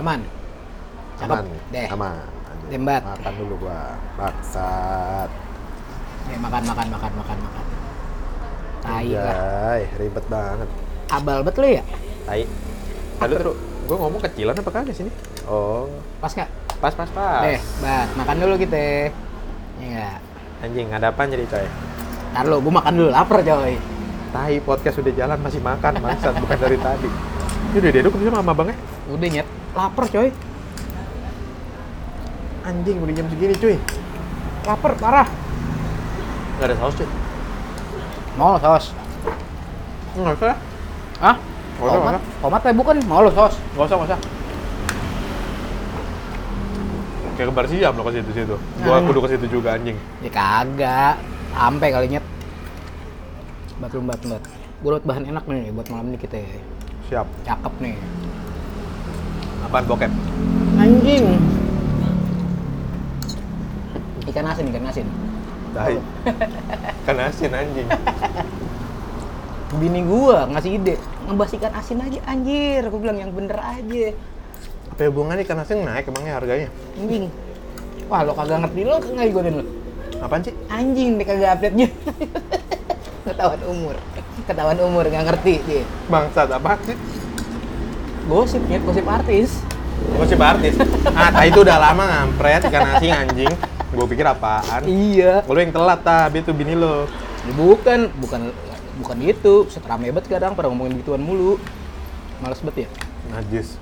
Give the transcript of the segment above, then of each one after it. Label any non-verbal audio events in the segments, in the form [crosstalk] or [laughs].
aman Cakep aman deh aman Lanjut. Lembat. makan dulu gua baksat Deh, makan makan makan makan makan tai Iya. lah Anjay, ribet banget abal bet lu ya tai Lalu terus gue ngomong kecilan apa kagak sini? oh pas nggak Pas pas Ah. pas. deh bat makan dulu kita Iya. Anjing ada apa cerita ya? Ntar lu, gua makan dulu, lapar coy. Tahi podcast udah jalan masih makan mangsat bukan dari tadi. Ini udah diaduk sama sama abangnya. Udah nyet, lapar coy. Anjing udah jam segini cuy. Lapar parah. Gak ada saus cuy. Mau lo saus. Enggak usah. Hah? Nggak usah, nggak Tomat, usah. tomat teh bukan, mau lo saus. Gak usah, gak usah. Kayak kembar siam lo ke situ situ. Gua Anjing. kudu ke situ juga anjing. Ya kagak. Sampai kali nyet. Batlum batlum bat. Gue bahan enak nih buat malam ini kita. Siap. Cakep nih. Apaan bokep? Anjing. Ikan asin, ikan asin. Tahi. [laughs] kan asin anjing. Bini gua ngasih ide, ngebahas ikan asin aja anjir. Aku bilang yang bener aja. Apa ya hubungannya ikan asin naik emangnya harganya? Anjing. Wah, lo kagak ngerti lo kagak ikutin lo. Apaan sih? Anjing deh kagak update nya. [laughs] Ketahuan umur. Ketahuan umur nggak ngerti dia. Bangsat apa sih? Gosip nyet, gosip artis. Gosip artis. Ah, tai itu udah lama ngampret ikan asin anjing. Gua pikir apaan? Iya. Lu yang telat tah, itu bini lo. Ya, bukan, bukan bukan itu. Set rame banget kadang pada ngomongin gituan mulu. Males banget ya. Najis.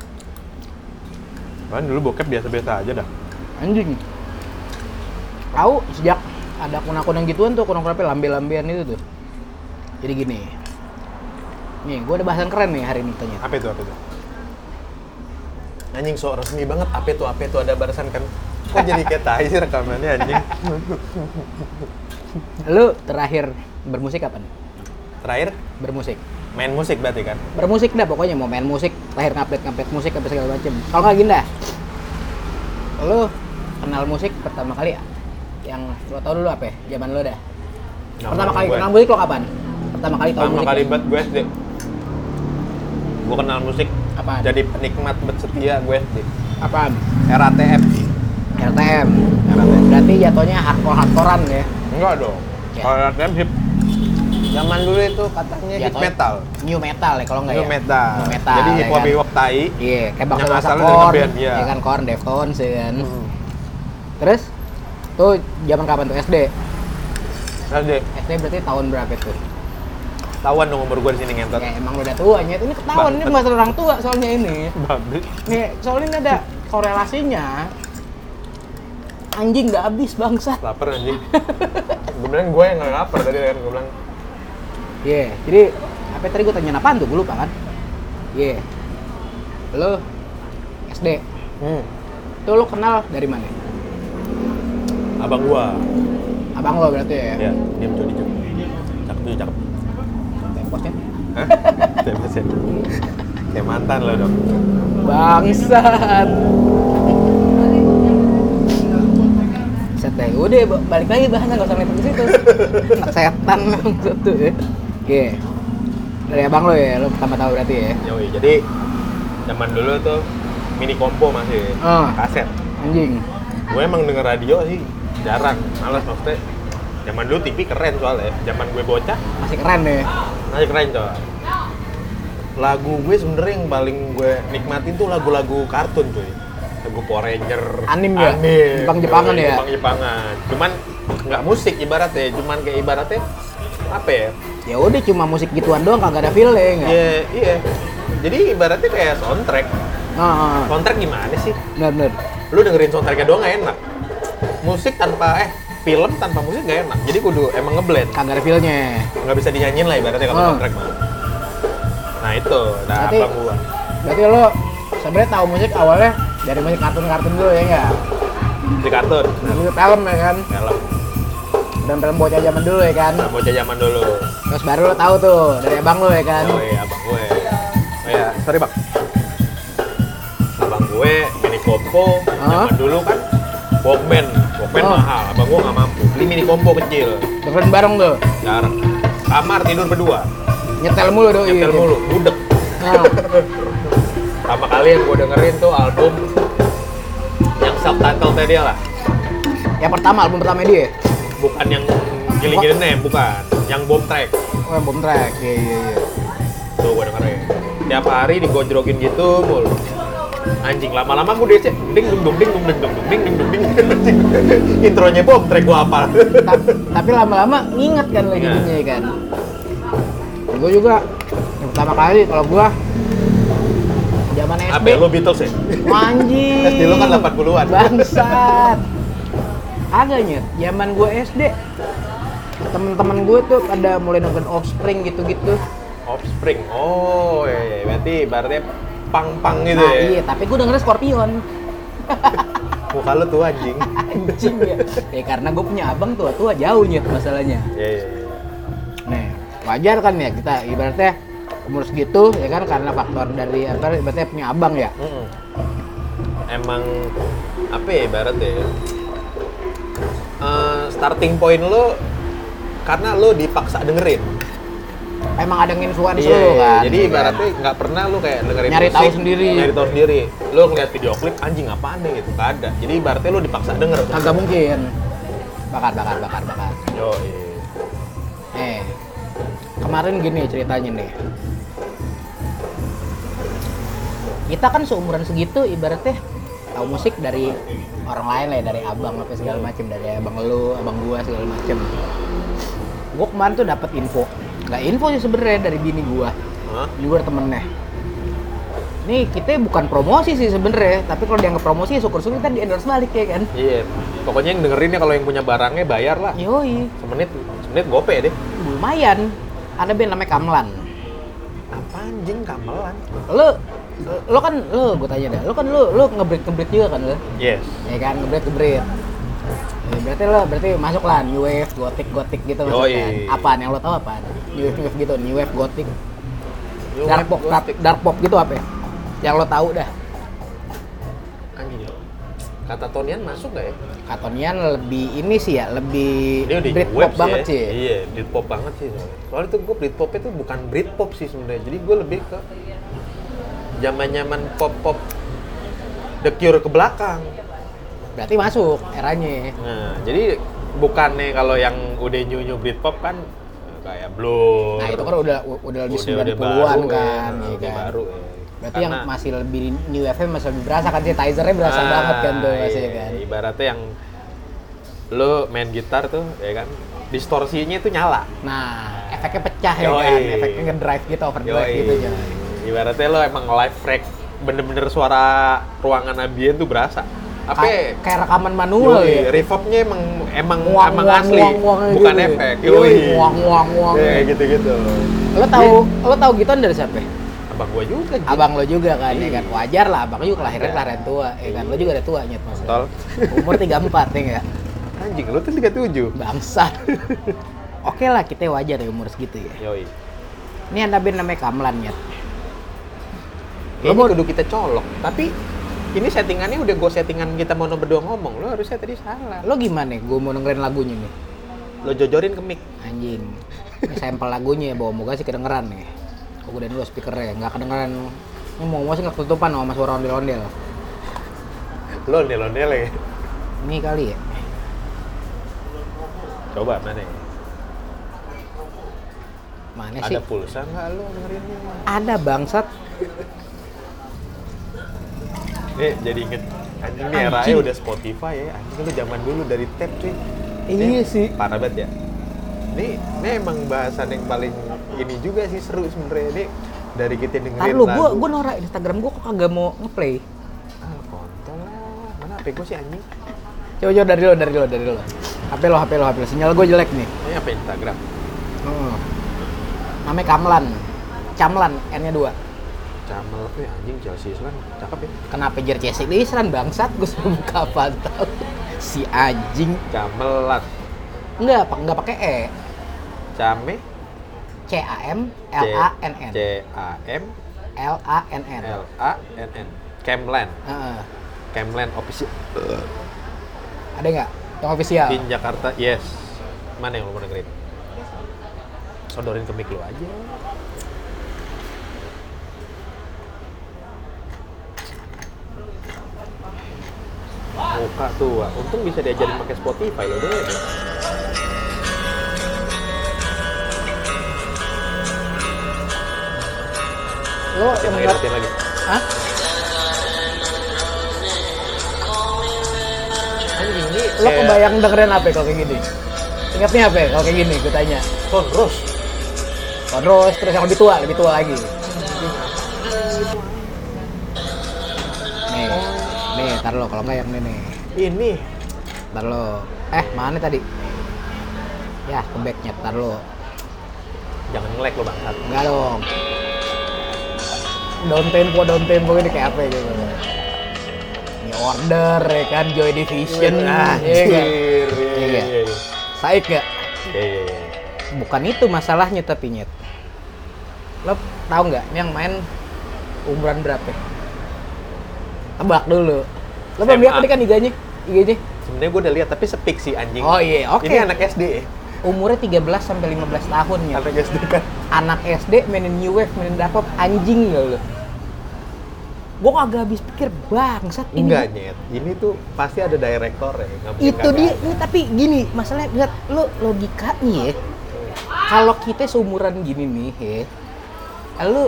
Kan dulu bokep biasa-biasa aja dah. Anjing. Tahu sejak ada akun-akun yang gituan tuh, akun akun lambe-lambean itu tuh. Jadi gini. Nih, gue ada bahasan keren nih hari ini tanya. Apa itu? Apa itu? Anjing so resmi banget. Apa itu? Apa itu? Ada barisan kan? Kok jadi kayak tai sih rekamannya anjing? Lu terakhir bermusik kapan? Terakhir Bermusik. main musik berarti kan? bermusik dah pokoknya mau main musik lahir ngupdate ngupdate musik apa segala macem kalau nggak gini dah lo kenal musik pertama kali ya yang lo tau dulu apa ya zaman lo dah pertama kali gue. kenal musik lo kapan pertama kali tau Pertama musik kali bet gue SD. Gue kenal musik. Apaan? Jadi penikmat bet setia gue SD. apaan RATM. RTM berarti jatuhnya hardcore hardcorean ya Enggak dong. Ya. Kalau RATM hip. Zaman dulu itu katanya hip Jatuhnya metal. new metal ya kalau nggak New ya metal. new metal Jadi ya hip hop kan? hip hop tai. iya kayak bakal masa Yang asalnya dari korn ngeband, iya. Hmm. ya kan korn deftones ya kan terus tuh zaman kapan tuh SD SD. SD berarti tahun berapa tuh Tahuan dong umur gue di sini ngentot. Ya emang udah tuanya, ini ketahuan ini Bantet. masalah orang tua soalnya ini. Babi. Nih, soalnya ini ada korelasinya. Anjing nggak habis bangsat. Laper anjing. gue bilang gue yang nggak lapar tadi kan gue bilang Iya, jadi apa tadi gue tanya apaan tuh? Gue lupa kan. Iya. Lo SD. hmm. Tuh lo kenal dari mana? abang gue. Abang lo berarti ya. Ya, diam cuy, diam. Cakep cuy, cakep. Temposnya. [laughs] Hah? Bebas ya. Kayak mantan lo dong. Bangsat. Set deh. Udah ba- balik lagi bahasnya nggak usah main ke situ. Anak setan memang satu ya. Oke. Dari abang lo ya, lo pertama tahu berarti ya. Yoi, jadi zaman dulu tuh mini kompo masih Ah. kaset. Anjing. Gue emang denger radio sih jarang, malas maksudnya. Zaman dulu TV keren soalnya. Zaman gue bocah Masih keren ya. masih keren coy. Lagu gue sebenernya yang paling gue nikmatin tuh lagu-lagu kartun cuy. Lagu Power Ranger, Anim ya? Jepang-Jepangan ya? Jepang Jepangan. Cuman nggak musik ibaratnya, cuman kayak ibaratnya apa ya? Ya udah cuma musik gituan doang kagak ada feel ya enggak. Iya, iya. Jadi ibaratnya kayak soundtrack. Nah, Soundtrack gimana sih? benar benar. lu dengerin soundtracknya doang gak enak musik tanpa eh film tanpa musik gak enak jadi kudu emang ngeblend Kagak ada feelnya. nggak bisa dinyanyiin lah ibaratnya kalau Hmm. soundtrack mah nah itu nah Berarti- abang gua Berarti lo sebenarnya tahu musik awalnya dari musik kartun-kartun dulu ya enggak. di kartun Musik film ya kan. film Dan film bocah zaman dulu ya kan. nah, bocah zaman dulu Terus baru lo tahu tuh dari abang lo ya kan. oh iya abang gue oh iya sorry bang abang gue mini kompo Hah? zaman dulu kan Walkman, Walkman Oh. mahal, abang gua nggak mampu. Beli mini kompo kecil, Dengerin bareng tuh. jarang. Kamar tidur Oh berdua, iya, Nyetel mulu doi. nyetel mulu, budek. Nah, Pertama kali yang gue dengerin tuh album yang subtitle-nya dia lah. Yang pertama album pertama dia. ya? Bukan yang giling-giling name, bukan. Yang bomb track. Oh, yang bomb track. Iya iya iya. Tuh gue dengerin. Tiap hari digojrokin gitu mulu. Anjing lama-lama gue DC ding dung dung ding dung ding dung dung, ding dung dung ding [laughs] Anjing. Intronya bomb track gue hafal. Ta- tapi lama-lama nginget kan lagi Iya. bunyinya kan. Gue juga yang pertama kali kalau gua zaman [laughs] Apa SD. ya, lo Beatles ya? [laughs] Anjing. SD lu kan 80-an. Bangsat. Agak nyet. Zaman gue SD temen-temen gue tuh pada mulai nonton Offspring gitu-gitu. Offspring. Oh, iya, iya. berarti ibaratnya pang-pang gitu Nah, ya. iya, tapi gue dengerin Scorpion. Muka lu tuh anjing. Anjing ya. Ya karena gue punya abang tua-tua jauh nyet masalahnya. [laughs] Iya, iya, iya. Nih, wajar kan ya kita ibaratnya umur segitu ya kan karena faktor dari apa ibaratnya punya abang ya. Mm-mm. Emang apa ya ibarat ya? Eh, starting point lo karena lo dipaksa dengerin. Emang ada influence Iya, lu iya. kan. Jadi ya kan? ibaratnya nggak pernah lo kayak dengerin Nyari musik, tahu sendiri. Nyari tahu sendiri. Lo ngeliat video klip anjing apaan nih gitu, nggak ada. Jadi ibaratnya lo dipaksa denger. kagak mungkin. Bakar bakar bakar bakar. Yo, iya. Eh, kemarin gini ceritanya nih. Kita kan seumuran segitu ibaratnya tahu musik dari orang lain lah ya, dari abang apa segala macem dari abang lu, abang gua segala macem. Gua kemarin tuh dapat info, nggak info sih sebenarnya dari bini gua, Hah? di luar temennya. Nih kita bukan promosi sih sebenarnya, tapi kalau dianggap promosi ya syukur-syukur kita di endorse balik ya kan. Iya. Pokoknya yang dengerinnya kalau yang punya barangnya bayar lah. Yoi, Semenit, semenit gope deh. lumayan. Ada band namanya Kamlan. Apa anjing gamelan? lu lu kan lu gue tanya dah lu kan lu lu ngebrit ngebrit juga kan lu Yes. ya kan ngebrit ngebrit ya, berarti lu berarti masuk lah new wave gothic gothic gitu masuk Yoi. kan apaan yang lu tahu apaan new wave, new wave gitu new wave gothic dark pop dark, dark pop gitu apa ya? yang lu tahu dah Anjing. Kata Tonian masuk nggak ya? Katonian lebih ini sih ya lebih Dia udah Britpop web sih banget ya. sih Iya, Britpop banget sih. soalnya. Soalnya itu gue Britpop itu bukan Britpop sih sebenarnya. Jadi gue lebih ke zaman-zaman pop-pop The Cure ke belakang. berarti masuk eranya Nah, jadi bukannya kalau yang udah new-new Britpop kan eh, kayak Blur. nah itu kan udah udah lebih Oh. udah- udah 90-an baru ya, kan nah, ya udah kan baru ya. berarti yang Karena- masih lebih new wave nya masih lebih berasa kan sih tasernya berasa Ah, banget kan tuh iya, masih kan Ibaratnya yang lo main gitar tuh ya kan distorsinya itu nyala. Nah, efeknya pecah ya Yoi. kan, efeknya ngedrive gitu, overdrive Yoi. gitu ya. Ibaratnya lo emang live track bener-bener suara ruangan ambien tuh berasa. Apa ya? Ka- kayak rekaman manual Yoi, ya. reverbnya emang emang Nguang, emang nguang, asli, nguang, nguang bukan gitu ya. efek. Yoi, Yoi. nguang, nguang, nguang. Iya, kayak gitu-gitu. Lo tahu, lo tahu gitu dari siapa? ya? Abang gua juga. Ji. Abang lo juga kan, ya kan. Iya. Wajar lah, abang juga kelahiran Iya. kelahiran tua, ya kan. Lo juga ada tua nyet mas. Tol. [laughs] Umur 34 ya nggak? Anjing, lo tuh 37. Bangsat. [laughs] Oke lah, kita wajar ya umur segitu ya. Yoi. Ini ada band namanya Kamlan nyet. Lo mau duduk kita colok, tapi ini settingannya udah gue settingan kita mau berdua ngomong. Lo harusnya tadi salah. Lo gimana? Gue mau dengerin lagunya nih. Lo jojorin ke mic. anjing ini sampel lagunya ya bawa moga sih kedengeran nih kok gue dulu speakernya nggak kedengeran ini mau mau sih nggak ketutupan sama suara ondel ondel Lo ondel-ondel ya. ini kali ya Coba mana ya? mana Ya sih Ada pulsa nggak lo dengerinnya? ada bangsat Eh, jadi inget anjing nih era Anjing. udah Spotify ya. Anjing lu zaman dulu dari tape cuy. Iya Ini sih. Parah banget ya. Ini, ini emang bahasan yang paling ini juga sih seru sebenarnya ini dari kita Ntar dengerin lu gue lagu. gue norak Instagram gue kok kagak mau ngeplay Ah, kontol lah. Mana HP gue sih anjing? coba coba dari lo dari lo dari lo HP lo HP lo HP lo sinyal gue jelek nih Ini apa Instagram? hmm. namanya Kamlan Camlan N nya dua Camel, eh anjing Chelsea Island, cakep ya. kenapa jer CSI ini seran bangsat gue suruh buka apa tau [laughs] si anjing Camelan, enggak pak enggak pakai E Came, C A M L C- A N N C A M L A N N. L A N N, Camlan, Heeh. Camlan official. Ada nggak yang official? Pin Jakarta, yes. Mana yang lo mau dengerin? Sodorin ke mic lo aja. Muka tua. Untung bisa diajarin pakai Spotify loh deh. Lo Latihan lagi, menganggap- latihan lagi. Hah? Anjing ini eh, Lo kebayang dengerin apa kalau kayak gini? Ingatnya apa kalau kayak gini? Gue tanya. Terus. Oh, terus terus yang lebih tua, lebih tua lagi. Nih, nih, tar lo kalau nggak yang ini nih, Ini. tar lo. Eh, mana tadi? Ya, ke backnya, tar lo. Jangan nge-lag lo bangsat. Enggak dong. Down tempo, down tempo ini kayak apa gitu. New Order, ya kan, Joy Division, ah, iya [laughs] nggak? Anjir. Iya, Iya. iya, iya. Saik nggak? Iya, iya, iya. bukan itu masalahnya tapi nyet lo tahu nggak ini yang main umuran berapa tebak dulu lo belum SMA. lihat tadi kan iganya iganya Sebenarnya gue udah lihat tapi sepik sih anjing. oh iya oke Iya. Ini anak SD ya? umurnya 13 sampai 15 tahun ya Anak SD kan? anak SD mainin new wave mainin dark wave anjing ya nggak lo gue kagak habis pikir bangsat ini Enggak, Nyet. Ini tuh pasti ada direktor ya. nggak mungkin itu kagak dia ada. ini tapi gini masalahnya lihat lo logikanya ya kalau kita seumuran gini nih ya lu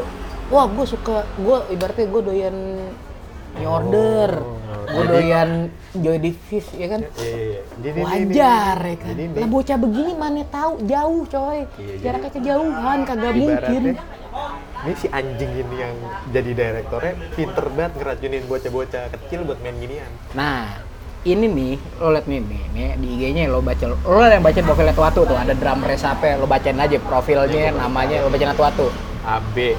wah gue suka gue ibaratnya gue doyan New Order gue Oh, jadi- doyan Joy Division ya kan Iya, iya, iya. Jadi ini- wajar ya ini- kan ini nih, lah bocah begini mana tahu jauh coy Iya, jaraknya jadi- kejauhan kagak mungkin ibaratnya, Ini si anjing ini yang jadi direktornya pinter banget ngeracunin bocah-bocah kecil buat main ginian. Nah, ini nih, lo liat nih, nih, nih di IG-nya lo baca, lo yang baca profil Atuatu tuh, ada drum resape, lo bacain aja profilnya, namanya, lo bacain Atuatu. AB.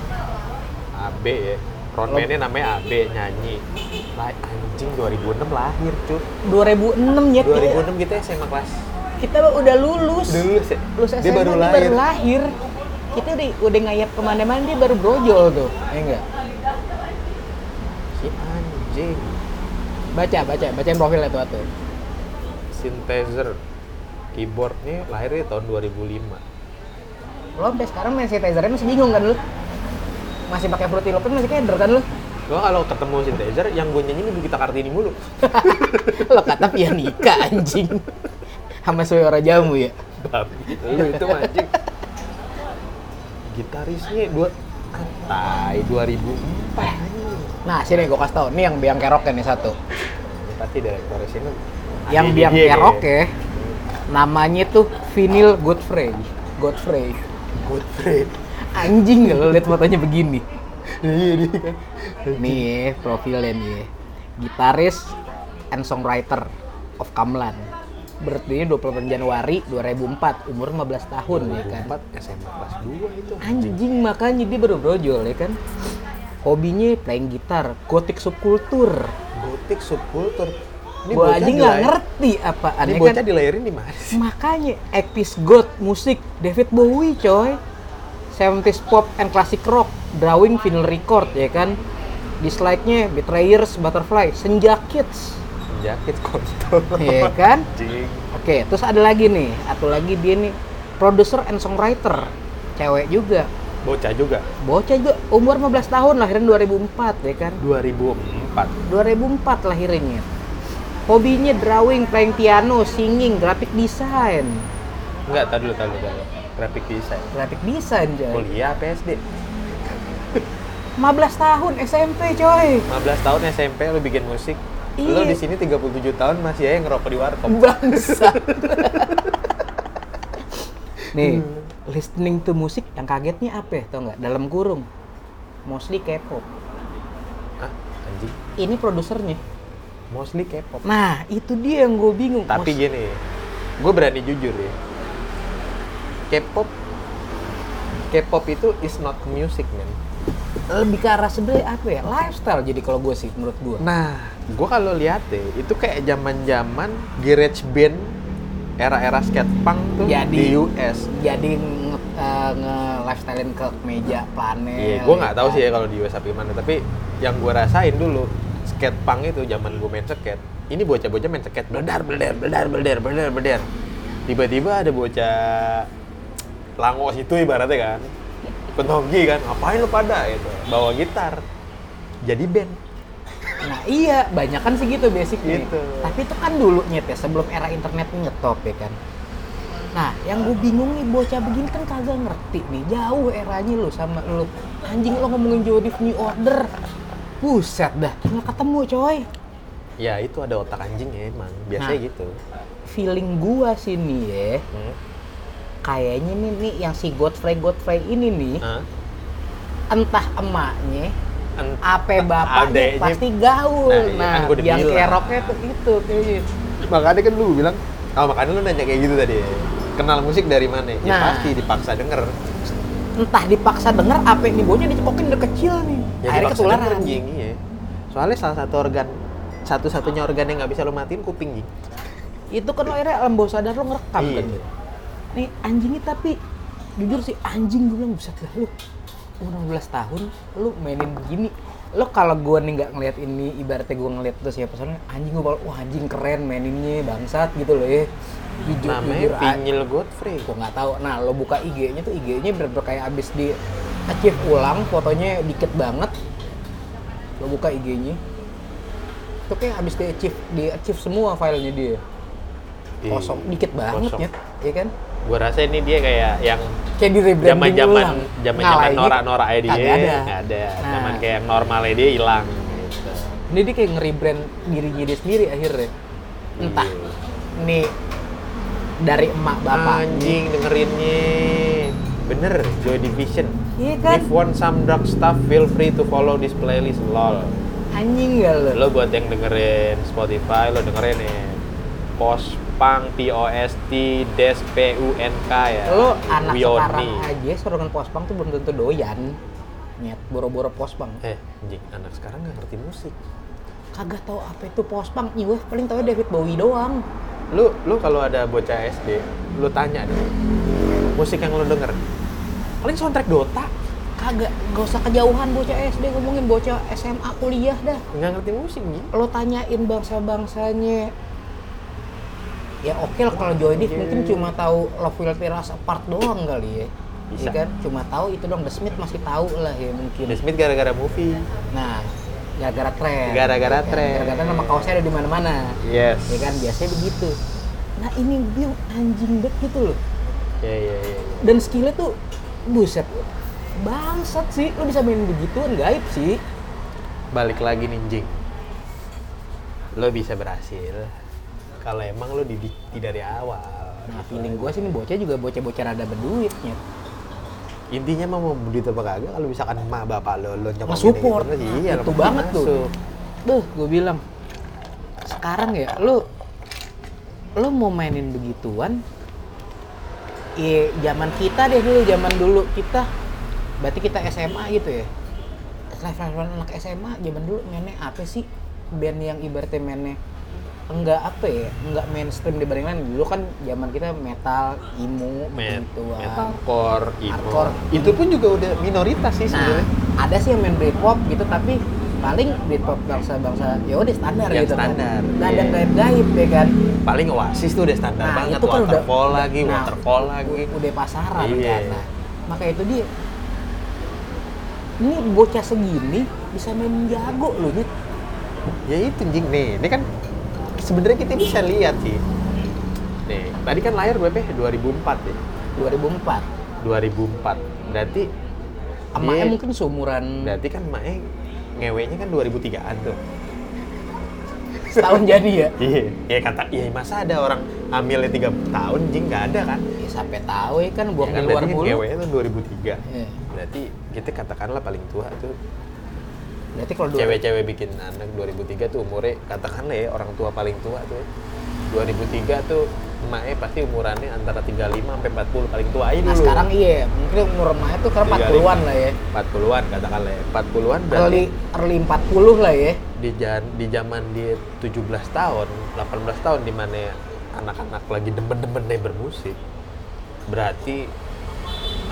AB ya. Frontman-nya namanya AB nyanyi. Lah anjing 2006 lahir, cuy. 2006 ya, kita, 2006 kita SMA kelas. kita udah lulus, Udah lulus ya? lulus SMA, Dia baru lahir. baru lahir. Kita udah, udah ngayap kemana-mana, dia baru brojol tuh, ya enggak? Si anjing. Baca, baca, bacain profil Atuatu. Synthesizer. Keyboardnya lahirnya tahun 2005. Lo sampai sekarang main synthesizer masih bingung kan lo? Masih pakai Fruity Loops masih keder kan [laughs] lo? Gua kalau ketemu synthesizer, yang gue nyanyi ibu kita Kartini mulu. lo kata pianika anjing. Sama suara jamu ya? Babi, lu itu anjing. Gitarisnya dua antai 2004 anjing. Nah, sini gue kasih tau. Nih yang biang kerok ya, nih satu. Ini Pasti direktur sini. Iya, Yang biang kerok ya, namanya tuh Vinyl Godfrey. Godfrey. Good friend. Anjing gak lo liat fotonya begini? Iya dia kan. Nih ya, profilnya nih ya. Gitaris and songwriter of Kamlan. Birthday-nya 28 Januari 2004, umur 15 tahun ya kan. 2004 SMA kelas 2 itu. Anjing makanya dia baru brojol ya kan. Hobinya playing gitar, gotik subkultur. Gotik subkultur. Gua bocah anjing nggak dilahir- ngerti apaan Ini ya bocah kan. dilahirin di mana sih? Makanya actis god musik David Bowie coy. 70s pop and classic rock, drawing vinyl record ya kan. Dislike-nya Betrayers, Butterfly, Senja Kids. Jaket kontol. Iya kan? Anjing. Oke, terus ada lagi nih, satu lagi dia nih producer and songwriter. Cewek juga. Bocah juga. Bocah juga umur 15 tahun lahiran 2004 ya kan. 2004. 2004 lahirnya. Hobinya drawing, playing piano, singing, graphic design. Enggak, tadi dulu, tadi dulu, tadi dulu. Graphic design. Graphic design, coy. Kuliah PSD. 15 tahun SMP, coy. 15 tahun SMP lu bikin musik. Lu Iya. di sini 37 tahun masih aja ngerokok di warkop. Bangsa. [laughs] Nih, listening to musik yang kagetnya apa ya, tau nggak? Dalam kurung. Mostly K-pop. Ah, anjing. Ini produsernya. Mostly K-pop. Nah, itu dia yang gue bingung. Tapi Mos- gini, gue berani jujur ya. K-pop K-pop itu is not music, man. lebih ke arah sebenarnya apa ya? Lifestyle jadi kalau gue sih, menurut gue. Nah, gue kalau lihat deh, itu kayak zaman-zaman garage band era-era skate punk tuh Jadi. di US. jadi nge, lifestylein ke meja planet. Iya, gue nggak tahu sih ya kalau di US apa gimana. Tapi yang gue rasain dulu skate punk itu zaman gue main skate. Ini bocah-bocah main skate beledar beledar beledar beledar beledar beledar. Tiba-tiba ada bocah langos itu ibaratnya kan. Gitu, Penogi kan, ngapain lu pada itu? Bawa gitar. Jadi band. Nah iya, banyak kan segitu basicnya. Gitu. Tapi itu kan dulu nyet ya, sebelum era internet ngetop ya kan. Nah, yang gue bingung nih bocah begini kan kagak ngerti nih. Jauh eranya lu sama lu. Anjing lo ngomongin Jodif New Order. Buset dah, nggak ketemu coy. ya itu ada otak anjing ya emang biasanya Nah. gitu Feeling gua sini ya, hmm. kayaknya nih, nih yang si Godfrey Godfrey ini nih, Hah? entah emaknya Ent- apa bapaknya Adeknya. pasti gaul. Nah, iya, Nah, kan gua udah yang bilang. keroknya tuh itu gitu. kayaknya. makanya kan lu bilang oh makanya lu nanya kayak gitu tadi ya. kenal musik dari mana ya Nah. pasti dipaksa denger entah dipaksa denger apa nih bocah dicekokin dari kecil nih ya akhirnya dipaksa ketularan denger, Jing, iya. soalnya salah satu organ satu-satunya organ yang nggak bisa lu matiin kuping iya. Jing. itu kan lo akhirnya alam bawah sadar lo ngerekam Iya. kan gitu. nih anjingnya tapi jujur sih anjing gue bilang bisa dah lu umur 16 tahun lu mainin begini lo kalau gue nih nggak ngeliat ini ibaratnya gue ngeliat terus ya pesannya anjing gue bakal wah anjing keren maininnya bangsat gitu loh ya jujur namanya jujur ah. a- Pinyil Godfrey gue nggak tahu nah lo buka IG-nya tuh IG-nya bener-bener kayak abis di achieve ulang fotonya dikit banget lo buka IG-nya itu kayak abis di achieve di achieve semua filenya dia kosong Ih, dikit banget Iya. kosong. ya ya kan gua rasa ini dia kayak yang kayak di rebranding zaman-zaman ulang. zaman-zaman Ngalahinnya norak-norak dia kagak ada nggak ada Nah, zaman kayak yang normalnya dia hilang gitu. ini dia kayak nge-rebrand dirinya dia sendiri akhirnya entah Iya. nih dari emak bapak anjing dengerinnya bener Joy Division Iya kan? if want some dark stuff feel free to follow this playlist lol anjing gak lo lo buat yang dengerin Spotify lo dengerin ya post punk P O S T des P U N K ya lo anak Wioni. sekarang aja sorangan pospang tuh belum tentu doyan nyet boro-boro pospang eh anjing anak sekarang nggak ngerti musik kagak tahu apa itu pospang iya weh, paling tahu David Bowie doang lu lu kalau ada bocah SD lu tanya deh musik yang lu denger paling soundtrack Dota kagak gak usah kejauhan bocah SD ngomongin bocah SMA kuliah dah nggak ngerti musik gitu lo tanyain bangsa-bangsanya ya oke lah kalau Joy Div mungkin Iya. cuma tahu Love Will Tear Us Apart doang kali ya Bisa. Iya kan cuma tahu itu dong The Smith masih tahu lah ya mungkin The Smith gara-gara movie nah gara-gara tren Gara-gara ya kan? tren. gara-gara nama kaosnya ada di mana-mana yes ya kan biasanya begitu nah ini dia anjing banget gitu loh ya ya ya ya. dan skillnya tuh buset bangsat sih lo bisa main begituan gaib sih balik lagi nih Jing lo bisa berhasil kalau emang lo didik dari awal nah feeling gue sih ini bocah juga bocah-bocah rada berduitnya intinya mah mau budi apa kagak kalau misalkan emak bapak lo lo nyokap Nge-support. gini-gini, iya lo Itu mesti Gitu banget tuh. masuk. Duh, gue bilang sekarang ya lu lu mau mainin begituan ya zaman kita deh dulu zaman dulu kita berarti kita SMA gitu ya level anak SMA zaman dulu mainnya apa sih band yang ibaratnya mainnya enggak apa ya enggak mainstream dibanding lain dulu kan zaman kita metal emo Met, begituan. metalcore, emo. Hardcore. Gitu, Itu pun juga udah minoritas sih Nah, sebenarnya. ada sih yang main Britpop gitu tapi paling Britpop bangsa-bangsa ya udah standar Yang gitu standar, kan. Nggak ada iya. gaib-gaib ya kan. Paling Oasis tuh udah standar Nah, banget, itu kan udah- waterfall lagi, nah, waterfall lagi. Udah pasaran Iya. kan. Nah, maka itu dia ini bocah segini bisa main jago loh Nyet. Ya itu jing nih, ini kan sebenarnya kita bisa lihat sih. Nih, tadi kan layar berapa? ya? 2004 ya. 2004. 2004. Berarti Emaknya dia- mungkin seumuran berarti kan emaknya ngewenya kan 2003-an tuh. [laughs] setahun jadi ya. Iya, ya kata, ya masa ada orang hamilnya 3 tahun jing nggak ada kan? Ya, sampai tahu ya kan buang ya kan, di luar berarti kan mulu. ngewenya tuh 2003. Iya. Berarti kita katakanlah paling tua tuh Berarti kalau dua- Nah, cewek-cewek bikin anak 2003 tuh umurnya katakanlah ya orang tua paling tua tuh 2003 tuh emaknya pasti umurannya antara 35 sampai 40 paling tua aja Nah, dulu. sekarang iya, mungkin umur emaknya tuh sekarang 35. 40-an lah ya. 40-an katakanlah ya. 40-an berarti Early, early 40 lah ya. di jan- di zaman dia 17 tahun, 18 tahun di mana anak-anak lagi demen-demennya bermusik. Berarti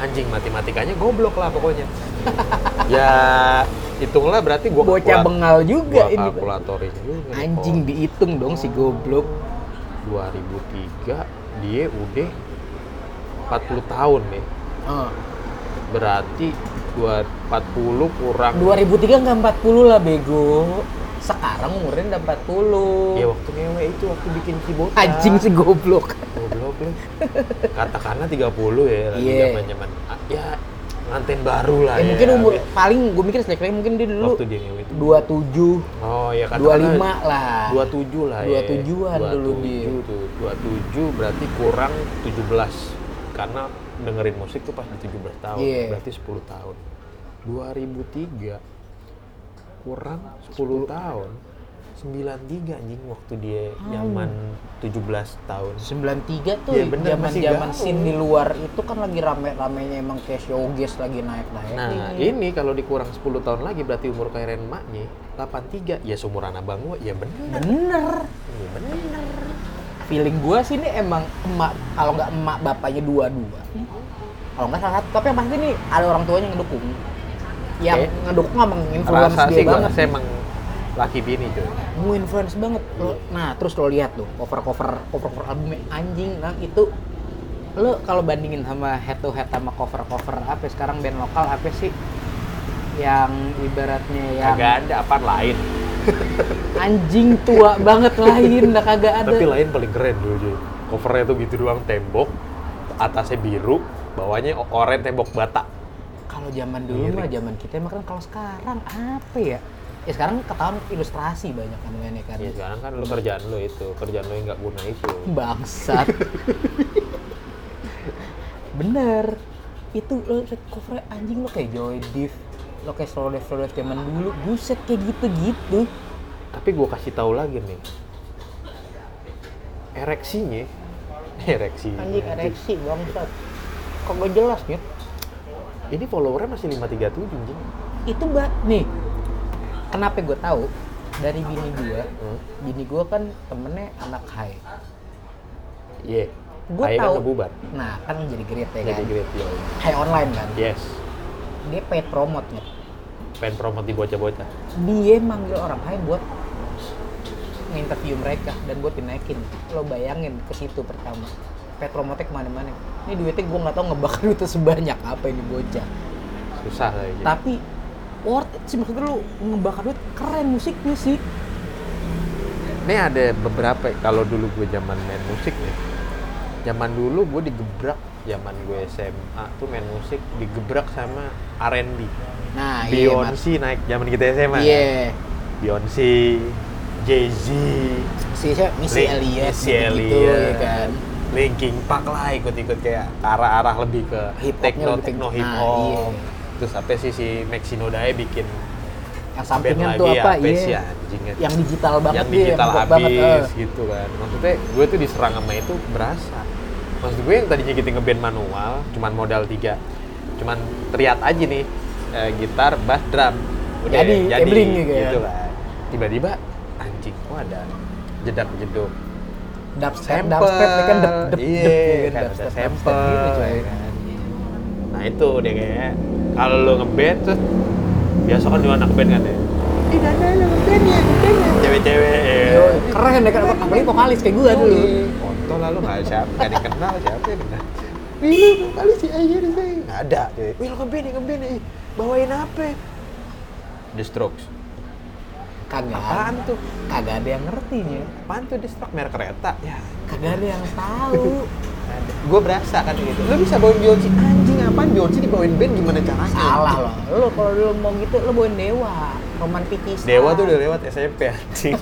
anjing matematikanya goblok lah pokoknya. [laughs] ya hitunglah berarti gua Bocah kalkulat- bengal juga gua ini. kalkulatornya juga nih, Anjing oh. dihitung dong si goblok. 2003 dia udah 40 tahun nih Oh. berarti dua- 40 kurang 2003 nggak 40 lah bego. Sekarang umurnya udah 40. Ya waktu ngewe itu waktu bikin keyboard. Anjing sih goblok. Goblok lu. Katakanlah 30 ya lagi Iya. zaman-zaman ah, ya nganten baru lah. Ya, mungkin umur paling gue mikir selek mungkin dia dulu iya, waktu dia ngewe itu. 27, Oh ya 25 lah. 27 lah ya. 27-an dulu dia. 27 tuh. 27 berarti kurang 17. Karena dengerin musik tuh pas di 17 tahun. Iya. Berarti 10 tahun. 2003 kurang 10, tahun. 93 anjing waktu Ah. dia zaman 17 tahun. 93 tuh Iya, bener, masih zaman-zaman gaul. scene di luar itu kan lagi rame-ramenya emang kayak showbiz lagi naik-naik. Nah, ini kalau dikurang 10 tahun lagi berarti umur keren maknya 83. Ya seumuran abang gua, ya bener. bener. Ya bener. Feeling gua sih ini emang emak kalau nggak emak bapaknya dua-dua. Kalau nggak salah satu, tapi yang pasti nih ada orang tuanya yang ngedukung. Yang Oke. ngedukung emang influence Rasa dia sih gua banget. Ya. rasa emang laki bini cuy. Mau influence banget. Iya. Lo- Nah, terus lo lihat tuh cover-cover cover-cover albumnya anjing nah itu lo kalau bandingin sama head to head sama cover-cover apa ya sekarang band lokal apa sih yang ibaratnya yang Kagak ada apaan lain. anjing tua banget [laughs] lain lah kagak ada Tapi lain paling keren dulu cuy. Covernya tuh gitu doang tembok, atasnya biru, bawahnya o- oranye tembok bata. kalau zaman dulu mah zaman kita mah kan kalau sekarang apa ya ya sekarang ketahuan ilustrasi banyak kan mainnya kan Ya sekarang kan lu kerjaan lu itu, kerjaan lu yang nggak guna itu. bangsat bener itu lo cover anjing lo kayak Joy Div lo kayak slow Dive slow Dive zaman dulu buset kayak gitu gitu Tapi gua kasih tahu lagi nih. Ereksinya, [laughs] ereksinya. anjing ereksi bangsat kok gak jelas gitu Ini followernya masih 537 anjing. itu mbak nih kenapa gue tahu dari bini gue Hmm. bini gue kan temennya anak high Iya. gue Akhirnya tahu kebubar. nah kan jadi great ya Jadi kan great Iya. yo. high online kan Yes. dia paid promote nya Pengen promote di bocah-bocah. dia manggil orang high buat nginterview mereka dan buat dinaikin lo bayangin ke situ pertama paid promote kemana-mana ini duitnya gue nggak tahu ngebakar itu sebanyak apa ini bocah Iya. Susah lah ya. tapi worth it sih maksudnya lu ngebakar duit keren musiknya sih Ini ada beberapa kalau dulu gue zaman main musik nih. Zaman dulu gue digebrak zaman gue SMA tuh main musik digebrak sama R&B. Ah, nah iya, Mas. Beyonce naik zaman kita SMA. Iya. kan? Beyonce, Jay-Z, Si siapa? Missy Lin- Elliott Missy gitu-gitu, ya Elliott, kan. Linkin Park lah ikut-ikut kayak arah-arah lebih ke Hip-hopnya techno, lebih ke- techno nah, hip iya. hop. Terus apa sih si Maxinodae bikin Yang band sampingan lagi tuh apa? apa sih Iya. anjingnya. Yang digital banget yang dia, digital mabok habis eh. gitu kan maksudnya gue tuh diserang sama itu berasa maksud gue yang tadinya kita ngeband manual cuman modal tiga cuman teriak aja nih eh, gitar bass drum Jadi, gambling gitu ya. gitu kan tiba-tiba anjing kok ada jedak jeduk Dubstep, dubstep, ya kan dub, dub, iya dub, ya kan, kan ada dubstep, dubstep sampel gitu, coy. ya kan. nah itu dia kayak kalau lo ngeband terus biasa kan juga anak band kan ya Tidak ada yang keren ya, keren ya. cewek-cewek ya Yoi, keren ya kan apalagi vokalis kayak gue dulu Kontol lalu nggak siapa, nggak dikenal siapa yang kenal. Ini kali si Ayer sih nggak ada. cuy. Wih lo ngeband, ngeband, eh. bawain apa? The Strokes. kagak Apaan tuh? kagak ada yang ngerti ya Apaan tuh The Strokes? Merek kereta. Ya. kagak ada yang tahu Gue berasa kan gitu. Lo bisa bawain Beyonce anjing apaan? Beyonce dibawain band gimana caranya? [laughs] salah loh lo kalau dulu mau gitu lo bawain dewa roman pitis Dewa tuh udah lewat SMP [laughs] anjing.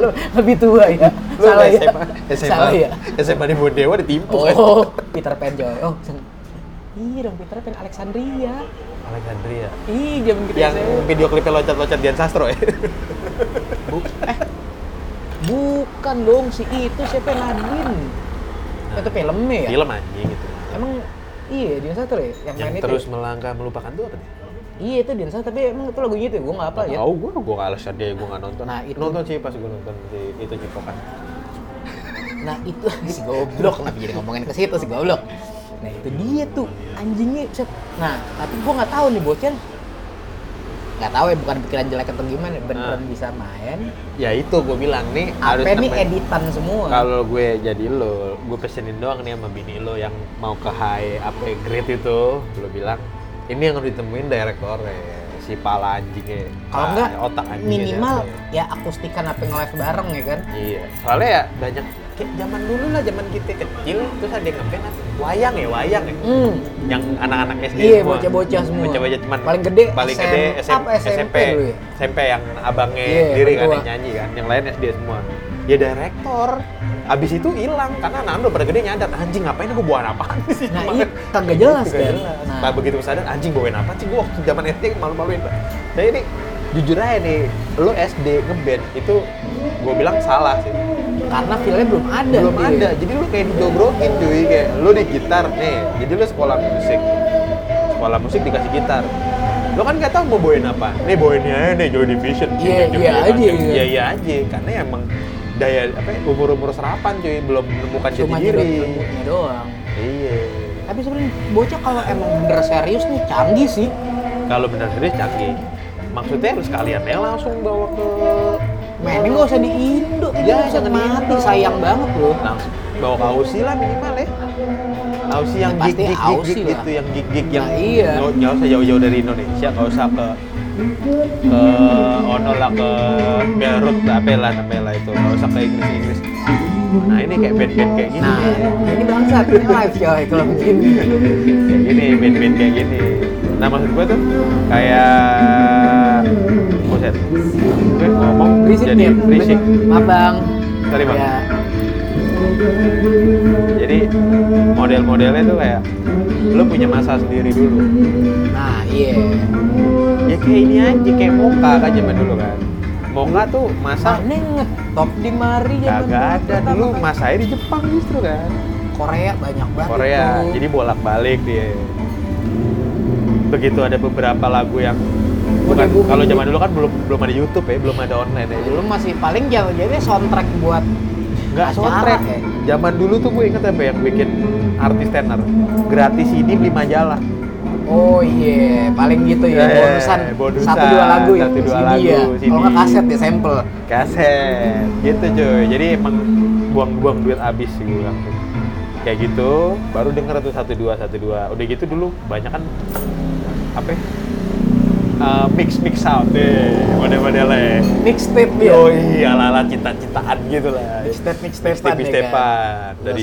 lo lebih tua ya Lu salah udah ya SMA, SMA, salah ya SMA di bawah Dewa ditimpu kan. oh Peter Pan coy oh sen- Ih dong Peter Pan Alexandria. Alexandria. Ih jam gitu Yang video klipnya loncat-loncat Dian Sastro ya. Bukan dong si itu siapa Nadine. Itu filmnya ya? Nah. Film anjing gitu. Emang iya Dian satu ya yang, yang main itu. terus melangkah melupakan tuh apa nih? Iya itu Dian Sastro tapi emang itu lagunya itu gue nggak apa Gak ya. tahu gue, gue gak alasan dia, gue gak nonton. Nah, itu- Nonton sih pas gue nonton di itu kan. Cipokan. Nah itu si goblok kenapa jadi ngomongin ke situ si goblok. Nah itu dia tuh anjingnya. set. Nah tapi gue nggak tahu nih bocil nggak tahu ya bukan pikiran jelek atau gimana beneran Ah. bisa main Ya itu gue bilang nih harus apa nih nemen- editan semua Kalau gue jadi lo, gue pesenin doang nih sama bini lo yang mau ke high apa grade itu, lo bilang ini yang harus ditemuin directornya. isi pala anjingnya Kalau pala- enggak, ah, otak anjingnya minimal siapa ya akustikan apa nge-live bareng ya kan? ya. iya soalnya ya banyak kayak zaman dulu lah zaman kita kecil terus ada yang ngapain apa? wayang ya wayang ya Hmm. yang anak-anak SD Iya, semua. bocah-bocah semua. bocah-bocah cuman Paling gede paling SM, gede SM, apa SMP SMP dulu ya? SMP yang abangnya Iya, diri kan berdua. yang nyanyi kan yang lain SD semua ya direktor abis itu hilang karena anak udah pada gede nyadar anjing ngapain gue bawain apa sih Nah, Cuman- iya, kagak jelas, Kagak Dan. jelas. Nah. Pas begitu sadar anjing bawain apa sih gue waktu zaman SD malu-maluin Pak. saya ini jujur aja nih lo SD ngeband itu gue bilang salah sih Karena feel-nya belum ada. belum Iya. ada jadi lu kayak didogrokin cuy kayak lu di gitar nih jadi lu sekolah musik sekolah musik dikasih gitar lu kan nggak tahu mau bawain apa nih bawainnya aja nih Joy Division Iya, Joy iya Division. aja, iya. iya iya aja karena emang daya apa ya, umur umur serapan cuy belum menemukan jati Cuma diri nyedot ilmunya doang. iya Tapi sebenarnya bocah kalau emang bener serius nih canggih sih. kalau benar serius canggih maksudnya lu sekalian ya langsung bawa ke Mainnya nggak usah di Indo, itu Ya, bisa jangan di mati, Indo. Nah. sayang banget loh. langsung bawa ke Aussie lah minimal ya Aussie yang Ya, gig pasti gig gig, Aussie gig lah. gitu yang gig gig Nah, yang iya. nggak nggak usah jauh-jauh dari Indonesia nggak usah ke ke ono lah ke Beirut lah, apalah namanya itu nggak usah ke Inggris Inggris nah ini kayak band-band kayak gini Nah, ini bangsat, ini live coy kalau begini. kayak gini band-band kayak gini nah maksud gue tuh kayak buset gue ngomong Berisik jadi nih. berisik Maaf bang. Sorry, Bang. Ya, jadi model-modelnya tuh kayak lo punya masa sendiri dulu nah iya. ya kayak ini aja kayak moka kan zaman dulu kan moka tuh masa Mana ngetop di mari zaman kagak ada pertama dulu kali. masanya di Jepang justru kan Korea banyak banget. Korea itu. jadi bolak-balik dia begitu ada beberapa lagu yang bukan Udah booming. kalau zaman dulu kan belum belum ada YouTube ya belum ada online ya dulu masih paling jauh jadi soundtrack buat nggak acara soundtrack ya. zaman dulu tuh gue inget apa ya, yang bikin artis tenar gratis ini beli majalah Oh iya, paling gitu ya Eh, bonusan, bonusan, satu dua lagu ya satu dua CD lagu, ya. CD. Kalau nggak kaset ya sampel. kaset gitu cuy jadi emang buang-buang duit abis sih gue bilang tuh. kayak gitu baru denger tuh satu dua satu dua udah gitu dulu banyak kan apa ya? Eh, mix mix sound deh model-modelnya Mixtape ya. oh iya lala cita-citaan gitu lah Mixtape mixtape kan. mix tape mix tapean dari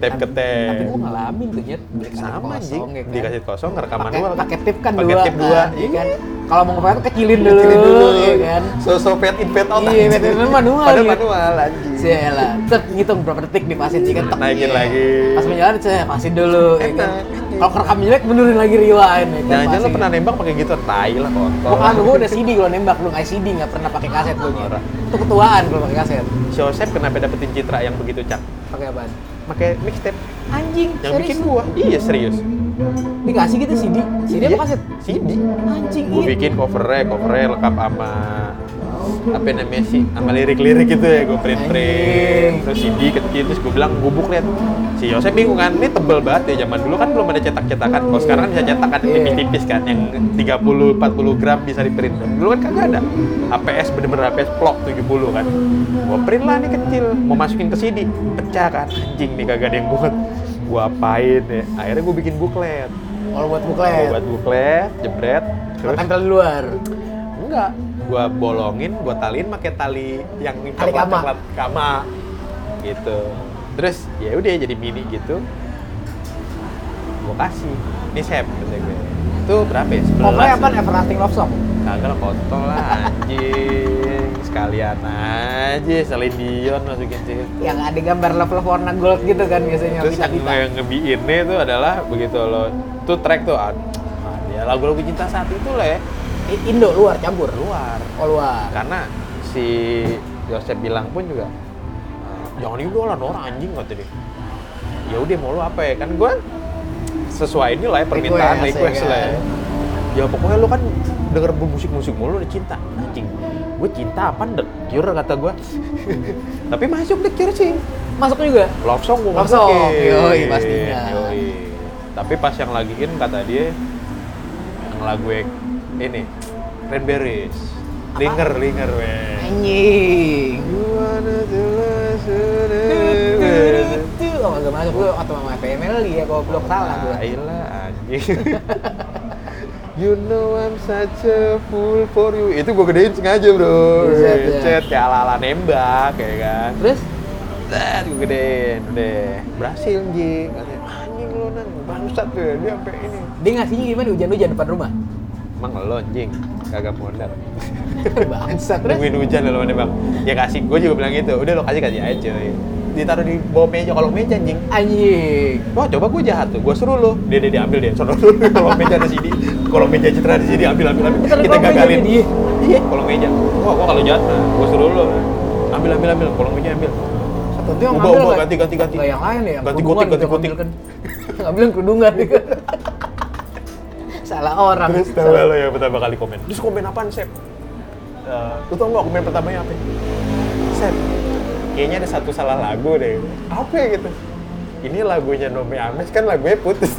tape ke Tapi tape gua ngalamin tuh nyet. Beli kaset sama kosong, anjing ya kan. dikasih kosong rekaman pakai dua pakai tip kan pakai dua. tip dua kan, iya kan. Kalau mau ngapain kecilin dulu, Kecilin ya kan. so so pet in pet out Iya, anjing. pet in pet manual, Padahal iya. manual anjing Sialah, cek ngitung berapa detik di pasin sih kan tek, iya. Naikin lagi. Pas menjalan cek pasin dulu ya kan. Enak. Kalau rekam jelek benerin lagi rewind ya kan. Jangan-jangan lo pasin. pernah nembak pakai gitu, tai lah kotor. Bukan, gue udah CD kalau nembak, belum ICD, nggak pernah pakai kaset gue Orang. Itu ketuaan kalau pakai kaset. Joseph kenapa dapetin citra yang begitu cak? Pakai apaan? Pakai mixtape Anjing, yang serius? bikin gua. Iya serius. Dikasih gitu CD? CD apa Iya, kaset? CD. Anjing, Gua iya. bikin covernya, covernya lengkap sama apa namanya sih sama lirik-lirik gitu ya gue print print Anjing. terus CD kecil terus gue bilang gubuk lihat si Yosef bingung kan ini tebel banget ya zaman dulu kan belum ada cetak-cetakan kalau sekarang kan bisa cetakan Iya. tipis-tipis kan yang 30 40 gram bisa di print dulu kan kagak ada APS bener-bener APS plok 70 kan gue print lah nih kecil mau masukin ke CD pecah kan anjing nih kagak ada yang buat gue apain ya akhirnya gue bikin buklet Kalau buat Gua buklet, buat buklet, jebret, Lo terus tempel di luar. enggak, gua bolongin, gua taliin pakai tali yang Tali kama. coklat kama gitu. Terus ya udah jadi mini gitu. Gua kasih. Ini sep kata gue. Itu berapa ya? Pokoknya apa? 11. Everlasting Love Song. Kagak lah, kontol lah anjing. Sekalian aja Celine Dion masukin sih. Yang ada gambar love love warna gold gitu kan biasanya. Terus yang, pita-pita. yang ngebiinnya itu adalah begitu lo tuh track tuh ah, ya lagu-lagu cinta saat itu lah ya I- Indo luar campur. luar Oh luar. karena si Joseph bilang pun juga "Eh, jangan idolan orang anjing kata dia ya udah mau lu apa ya kan gue sesuai ini lah ya, permintaan Request, request ya lah kan? ya. ya pokoknya lu kan denger musik musik mulu udah cinta anjing gue cinta apa The Cure kata gue [laughs] tapi masuk The Cure sih Masuk juga. love song gue Love song, yoi, pastinya. Yoi. tapi pas yang lagiin kata dia yang lagu yang ini Cranberries linger linger weh Anjing. You wanna do less, do less. Oh nggak masuk gue atau sama FML ya goblok salah gue. Ayolah anjing. [laughs] You know I'm such a fool for you. Itu gue gedein sengaja bro. Buset, ya. Cet, ya ala-ala nembak ya kan. Terus? Set, gue gedein, udah berhasil Ji. Katanya, anjing lu nang, bangsat tuh ya, dia sampai ini. Dia ngasihnya gimana hujan-hujan depan rumah? Emang lo anjing, kagak modal. [laughs] Bangsat. Terus? Nungguin hujan lo mana bang. Ya kasih, gue juga bilang gitu, udah lo kasih kasih aja. Ditaruh di bawah meja, kalau meja anjing. Anjing. Wah coba gue jahat tuh, gue suruh lo. Dia dia dia ambil dia, sono dulu. [laughs] Kalau meja ada sini, kalau meja citra di sini ambil ambil ambil. Ntar Kita gua ambil gagalin. aja dia. Iya. Kalau meja, wah gue kalau jahat, nah, gue suruh lo. Ambil ambil ambil, kalau meja ambil. Satu tuh yang Ubah, ngambil ubah, nggak? ganti, ganti, ganti. Nggak yang lain ya. Ganti kerudungan kutik, ganti tuh yang kutik. ngambil kan. [laughs] Ngambil yang kerudungan. [laughs] Salah orang. Terus tahu Salah- lo yang pertama kali komen. Terus komen apaan, Sep? Eh, lu tau nggak komen pertamanya apa? Sep, kayaknya ada satu salah lagu deh. Apa ya gitu? Ini lagunya Nomi Ames kan lagunya putus.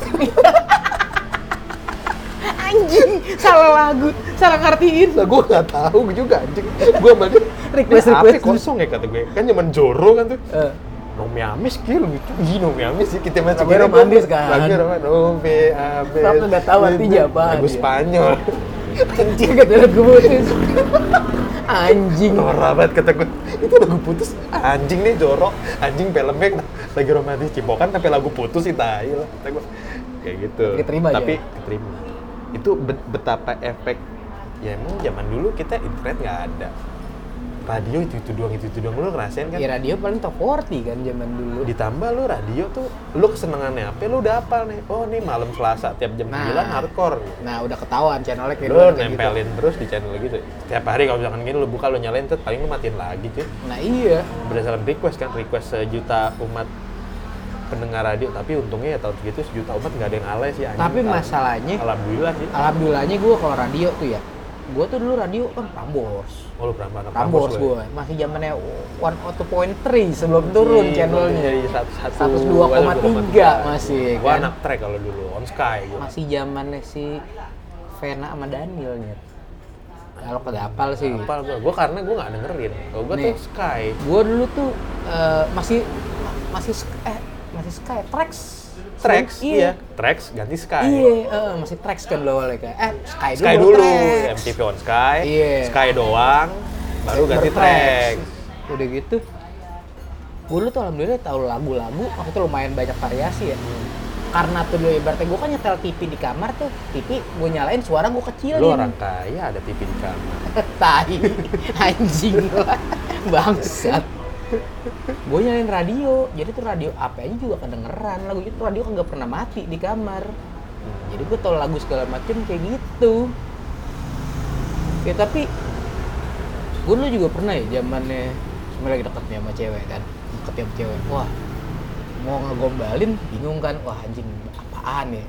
Anjing. Salah lagu. Salah ngertiin. [laughs] lah gue nggak tahu juga anjing. Gue balik Request, request request. request kosong ya kata gue. Kan zaman Joro kan tuh. Eh, Nomi Ames kayak lebih tinggi Nomi Ames sih kita masuk Lagunya romantis kan? Lagunya romantis. Nomi Ames. Tapi nggak tahu artinya apaan Lagu ya. Spanyol. Anjing gak jalan gue putus. [laughs] Anjing. Norak banget kata gue. Itu lagu putus. Anjing nih jorok. Anjing filmnya kena- lagi romantis cipokan tapi lagu putus sih tai lah kata gue. Kayak gitu. Tapi keterima aja tapi ya? keterima. Itu bet- betapa efek ya emang zaman dulu kita internet nggak ada. Radio itu itu doang itu itu doang lu ngerasain kan? Ya radio paling top 40 kan zaman dulu. ditambah lu radio tuh lu kesenangannya apa lu udah hafal nih oh nih malam selasa tiap jam Nah. 9 hardcore Nah udah ketahuan channelnya kayak lu dulu kayak gitu. nempelin terus di channel gitu tiap hari kalau misalkan gini lu buka lu nyalain terus paling lu matiin lagi cuy Nah iya. berdasarkan request kan request sejuta umat pendengar radio tapi untungnya ya tahun segitu sejuta umat nggak ada yang alay sih anjing. Tapi Al- masalahnya, alhamdulillah sih alhamdulillahnya gue kalau radio tuh ya, gue tuh dulu radio kan Prambors. oh lu berapa anak Prambors kampus lu ya? gue, masih zamannya oh 1.3 sebelum turun Iya, channelnya. jadi satu- satu- 102,3 masih gua kan. anak track kalau dulu on sky gua Masih zamannya si Vena sama Daniel Nyet. Kalau kagak hafal sih. Apal gua, gua karena gua nggak dengerin kalau gua Nih. tuh sky Gue dulu tuh eh, masih masih sk- eh masih Sky Trax. Trax, Sebelum- iya. Trax ganti Sky. Iya, eh, masih Trax kan lo awalnya kan. Eh, Sky, Sky baru dulu, Trax. MTV on Sky, Iya. Sky doang, baru ganti Trax. Bertrax. Udah gitu, gue dulu tuh alhamdulillah tahu lagu-lagu, waktu itu lumayan banyak variasi ya. Hmm. Karena tuh dulu ibaratnya gue kan nyetel TV di kamar tuh, TV gue nyalain suara gue kecilin. Lu orang kaya ada TV di kamar. [laughs] Tai, anjing lah, bangsat. Gue nyalain radio, jadi tuh radio apa aja juga kedengeran. Lagu itu radio kagak pernah mati di kamar. Jadi gue tau lagu segala macem kayak gitu. Ya tapi gue dulu juga pernah ya zamannya sebenarnya lagi deket nih sama cewek kan, deket sama cewek. Wah mau ngegombalin bingung kan, wah anjing apaan ya?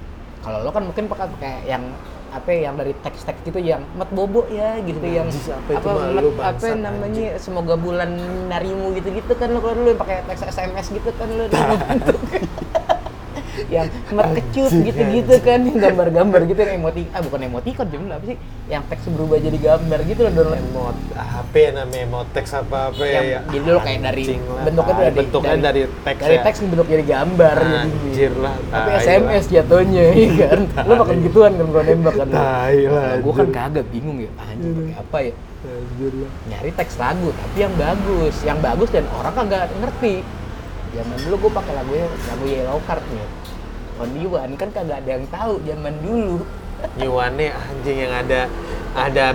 Kalau lo kan mungkin pakai pakai yang apa ya, yang dari teks-teks gitu yang mat bobo ya gitu yang Najis, Iya, apa itu mah, mat- lu apa bangsat, namanya semoga bulan narimu gitu-gitu kan lo kalau dulu yang pakai teks SMS gitu kan [laughs] lo dulu bentuk. [laughs] yang mat kecut Anjing, gitu-gitu kan yang gambar-gambar gitu yang emoti ah bukan emotikon cuman apa sih yang teks berubah jadi gambar gitu lo download Emot apa ya namanya emotex apa apa yang ya. jadi lo kayak dari Anjing lah, bentuknya tai. dari bentuknya dari, teks dari ya. Ah, teks dibentuk jadi gambar jadinya. Anjir lah. Ah, iya. tapi tai SMS jatuhnya [laughs] iya kan lo pakai Tai. gituan kan kalau nembak kan lah. Tai lah. Iya. gue kan anjir. kagak bingung ya anjing pakai apa ya Anjir lah. nyari teks lagu tapi yang bagus yang bagus dan orang kagak ngerti zaman dulu gue pakai lagu lagu Yellow Card nih On You One kan kagak ada yang tahu zaman dulu Nyuwane anjing yang ada ada